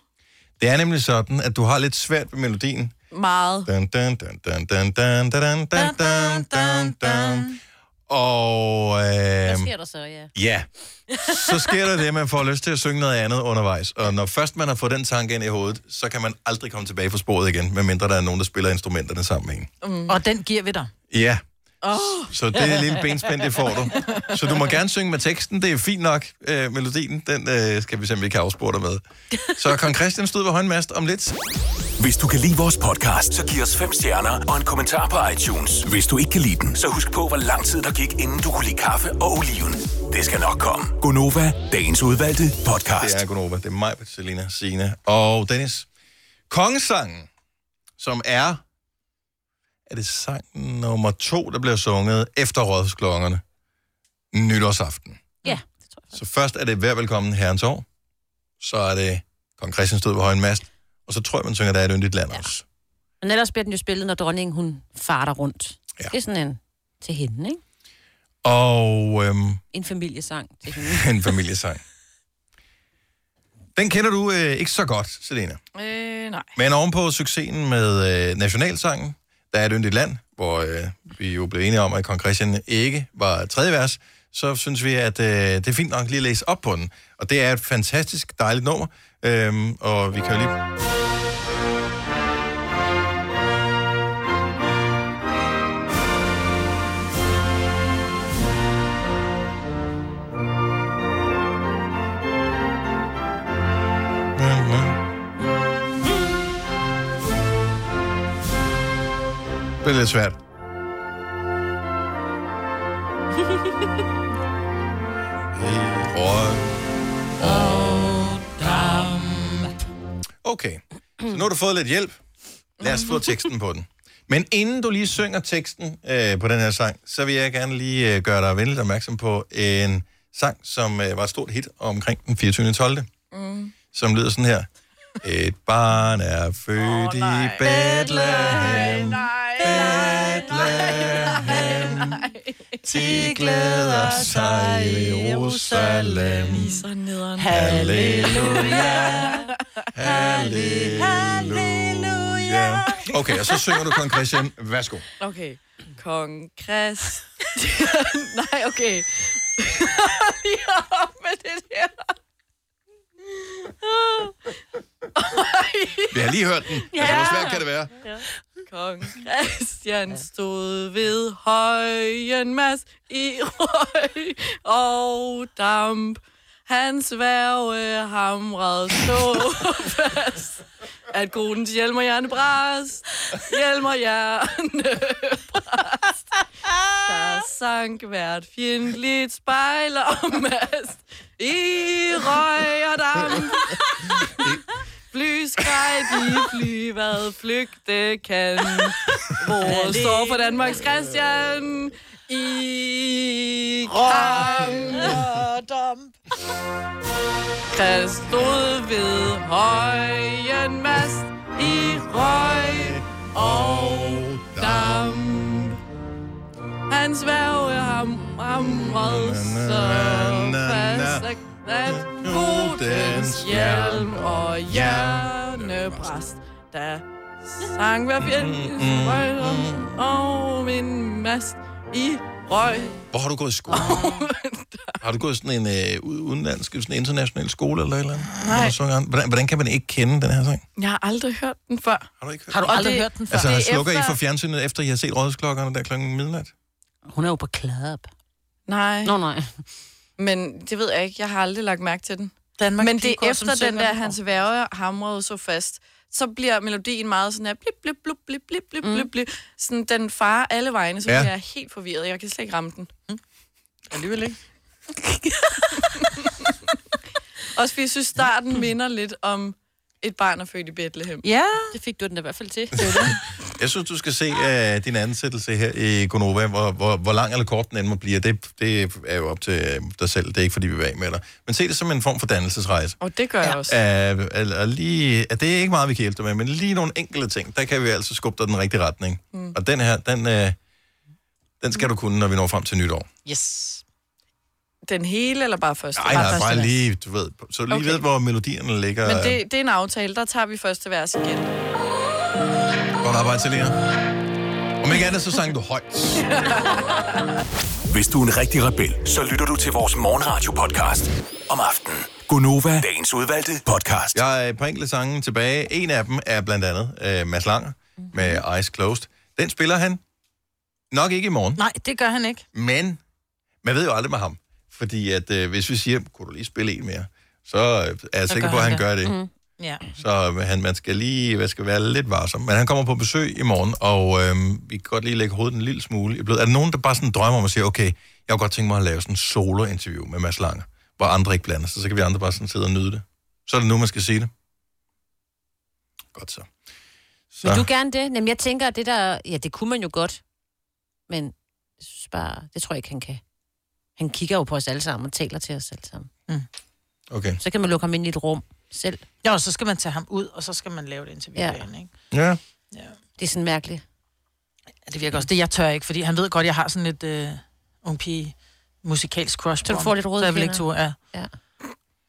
Det er nemlig sådan, at du har lidt svært ved melodien.
meget.
Dun, dun, dun, dun, dun, dun, dun, dun, dun, dun, dun. Og
Hvad
øh,
sker der så, ja?
ja, så sker der det, at man får lyst til at synge noget andet undervejs. Og når først man har fået den tanke ind i hovedet, så kan man aldrig komme tilbage på sporet igen, medmindre der er nogen, der spiller instrumenterne sammen med en.
Mm. Og den giver vi dig.
Ja,
Oh.
så det er lille benspænd, det får du. Så du må gerne synge med teksten, det er fint nok. Øh, melodien, den øh, skal vi se, om vi kan afspore dig med. Så Kong Christian stod ved håndmast om lidt.
Hvis du kan lide vores podcast, så giv os fem stjerner og en kommentar på iTunes. Hvis du ikke kan lide den, så husk på, hvor lang tid der gik, inden du kunne lide kaffe og oliven. Det skal nok komme.
Gonova,
Dagens udvalgte podcast.
Det er Gunova. Det er mig, Selina, Signe og Dennis. Kongesangen, som er... Er det sang nummer to, der bliver sunget efter rådsklokkerne? Nytårsaften.
Ja.
Så først er det Vær velkommen herrens år. Så er det Kong Christian stod ved højen mast. Og så tror jeg, man synger, der er et yndigt land også.
Men ellers bliver den jo spillet, når dronningen hun farter rundt.
Ja.
Det er sådan en til hende, ikke?
Og øhm, <laughs>
En familiesang til hende.
en familiesang. Den kender du øh, ikke så godt, Selena.
Øh, nej.
Men ovenpå succesen med øh, nationalsangen, der er et yndigt land, hvor øh, vi jo blev enige om, at kong Christian ikke var tredje vers, så synes vi, at øh, det er fint nok lige at læse op på den. Og det er et fantastisk dejligt nummer, øhm, og vi kan jo lige... Det er lidt svært. Okay, så nu har du fået lidt hjælp. Lad os få teksten på den. Men inden du lige synger teksten øh, på den her sang, så vil jeg gerne lige øh, gøre dig venligt opmærksom på en sang, som øh, var et stort hit omkring den 24. 12.
Mm.
som lyder sådan her. Et barn er født oh, i Bethlehem. Bethlehem. De glæder sig i Jerusalem. Halleluja. Halleluja. Okay, og så synger du kong Christian. Værsgo.
Okay. Kong Chris. <laughs> nej, okay. <laughs> Lige op med det der. <laughs>
Vi har lige hørt den. Ja. Altså, hvor svært kan det være?
Ja. Kong Christian stod ved højen mas i røg og damp. Hans værve hamrede så fast, at konens hjelm og hjerne brast. Hjelm og hjerne brast. Der sank hvert fjendtligt spejl og mast i røg og damp. Flyskrej, de flyvede flygte kan. Hvor står for Danmarks Christian? I kang og damp. Christ stod ved højen mast i røg og damp. Han sværge ham ramrede så fast, at- at godens hjelm og hjernebræst, da sang hver fjend
Mm,
røg om- og min mast i røg.
Hvor har du gået i skole? har du gået i sådan en øh, ud- udenlandsk, sådan en international skole eller et eller andet?
Nej.
Hvor du synger den? Hvordan, hvordan kan man ikke kende den her sang?
Jeg har aldrig hørt den før.
Har du ikke hørt
Har du aldrig hørt den før?
Altså, slukker I for fjernsynet, efter I har set rådsklokkerne der klokken midnat?
Hun er jo på klap.
Nej.
Nå, nej.
Men det ved jeg ikke. Jeg har aldrig lagt mærke til den.
Danmark
Men det er
Pigkor, som
efter den
synger
der,
den.
hans værve hamrede så fast, så bliver melodien meget sådan her, blip, blip, blip, blip, blip, blip,
Mm.
blip, blip. Sådan, den farer alle vegne, så
Ja.
ja. bliver jeg helt forvirret. Jeg kan slet ikke ramme den. Mm. Alligevel ikke. <laughs> Også fordi jeg synes, starten minder lidt om et barn er født i Bethlehem.
Ja.
Det fik du den da i hvert fald til.
Jeg synes, du skal se uh, din ansættelse her i Gonova, hvor, hvor, hvor lang eller kort den end må blive. Det, det er jo op til øh, dig selv. Det er ikke, fordi vi vil af med dig. Men se det som en form for dannelsesrejse.
Og det gør jeg også.
Øh, eller lige, at det er ikke meget, vi kan hjælpe dig med, men lige nogle enkelte ting, der kan vi altså skubbe dig i den rigtige retning.
Mm.
Mm. Og den her, den, øh, den skal du kunne, når vi når frem til nytår.
Yes. Den hele, eller bare første?
Nej, nej, bare lige, du ved, så lige okay. ved, hvor melodierne ligger.
Men det, det er en aftale, der tager vi første vers igen. <laughs>
Godt arbejde, Selina. Om ikke andet, så sang du højt.
Hvis du er en rigtig rebel, så lytter du til vores morgenradio-podcast om aftenen. Gunova, dagens udvalgte podcast.
Jeg er på enkelte sange tilbage. En af dem er blandt andet øh, Mads Langer med Eyes Closed. Den spiller han nok ikke i morgen,
Nej, det gør han ikke.
men man ved jo aldrig med ham. Fordi at øh, hvis vi siger, kunne du lige spille en mere, så øh, er jeg sikker på, at han gør det. Mm.
Ja.
Så øh, han, man skal lige man skal være lidt varsom. Men han kommer på besøg i morgen, og øh, vi kan godt lige lægge hovedet en lille smule i blød. Er der nogen, der bare sådan drømmer om at sige, okay, jeg kunne godt tænke mig at lave sådan en solo-interview med Mads Langer, hvor andre ikke blander sig, så kan vi andre bare sådan sidde og nyde det. Så er det nu, man skal sige det. Godt så.
Så. Vil du gerne det? Jamen, jeg tænker, at det der... Ja, det kunne man jo godt. Men jeg synes bare, det tror jeg ikke, han kan. Han kigger jo på os alle sammen og taler til os alle sammen.
Okay.
Så kan man lukke ham ind i et rum selv.
Jo, og så skal man tage ham ud, og så skal man lave et interview ja. derinde, ikke?
Ja.
Det er sådan mærkeligt.
Ja, det virker også. Det jeg tør ikke, fordi han ved godt, jeg har sådan lidt øh, ung pige musikalsk crush på
Så du
ham.
får lidt røde
Så jeg vil ikke
kinder.
turde, ja.
Ja.
Jeg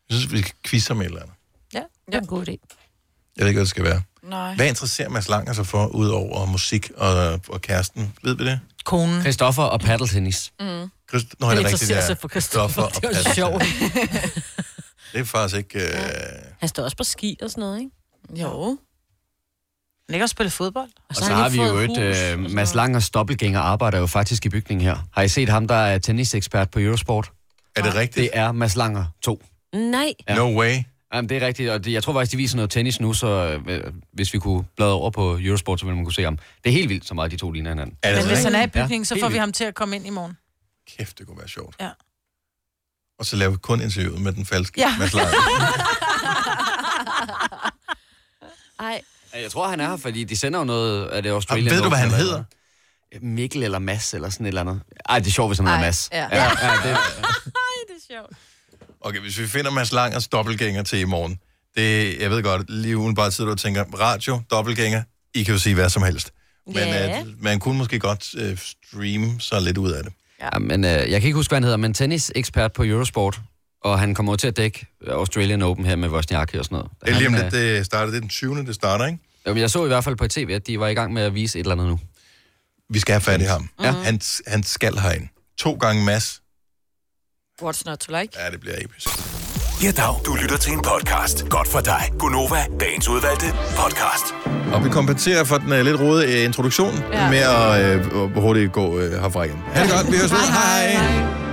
synes, vi skal quizze med et eller andet.
Ja,
det er en god idé.
Jeg ved ikke, hvad det skal være.
Nej.
Hvad interesserer Mads Langer sig for, udover musik og, og kæresten? Ved vi det?
Konen.
Christoffer og paddeltennis.
Mm.
Christ... Nå, han er rigtigt,
interesserer
det er
sig for Christoffer.
og
Det var
Patrick.
sjovt.
det er faktisk ikke... Øh...
Han står også på ski og sådan noget, ikke?
Jo.
Han ikke også spille fodbold?
Og så, så har vi jo et, øh, Mads Langers dobbeltgænger arbejder jo faktisk i bygningen her. Har I set ham, der er tennisekspert på Eurosport?
Er det rigtigt?
Det er Mads Langer
<laughs>
<laughs>
2.
Nej.
Ja.
No way.
Jamen, det er rigtigt, og det, jeg tror faktisk, de viser noget tennis nu, så øh, hvis vi kunne bladre over på Eurosport, så ville man kunne se ham. Det er helt vildt, så meget de to ligner hinanden.
Er
Men hvis han er i bygningen, ja, så får vi ham til at komme ind i morgen.
Kæft, det kunne være sjovt.
Ja.
Og så laver vi kun interviewet med den falske
Ja.
ja. Mads Langer.
Ej.
Jeg tror, han er her, fordi de sender jo noget af det Australian
Og ved du, hvad han
Open,
hedder?
eller- Mikkel eller Mads eller sådan et eller andet. Ej, det er sjovt, hvis han hedder
Ej,
Mads.
ja.
ja, ja det,
det er sjovt.
Okay, hvis vi finder Mads Langers dobbeltgænger til i morgen. Det, jeg ved godt, lige uden bare sidder du og tænker, radio, dobbeltgænger, I kan jo sige hvad som helst. Men øh,
Ja.
yeah. man kunne måske godt øh, streame sig lidt ud af det.
Ja, men øh, jeg kan ikke huske, hvad han hedder, men tennisekspert på Eurosport, og han kommer jo til at dække Australian Open her med Wozniacki og sådan noget.
Det er lige om
Han, øh,
lidt, det starter. Det er den 20. det starter, ikke?
Jo, men jeg så i hvert fald på tv, at de var i gang med at vise et eller andet nu.
Vi skal have fat i ham. Ja. Han, han skal herind. To gange Mads.
What's not to like?
Ja, det bliver episk.
Ja, dag. Du lytter til en podcast. Godt for dig. Gunova, dagens udvalgte podcast.
Og vi kompenserer for den uh, lidt rodede øh, uh, introduktion ja. med at uh, hurtigt gå uh, herfra igen. Ha' det godt. Vi høres ved. Hej. hej.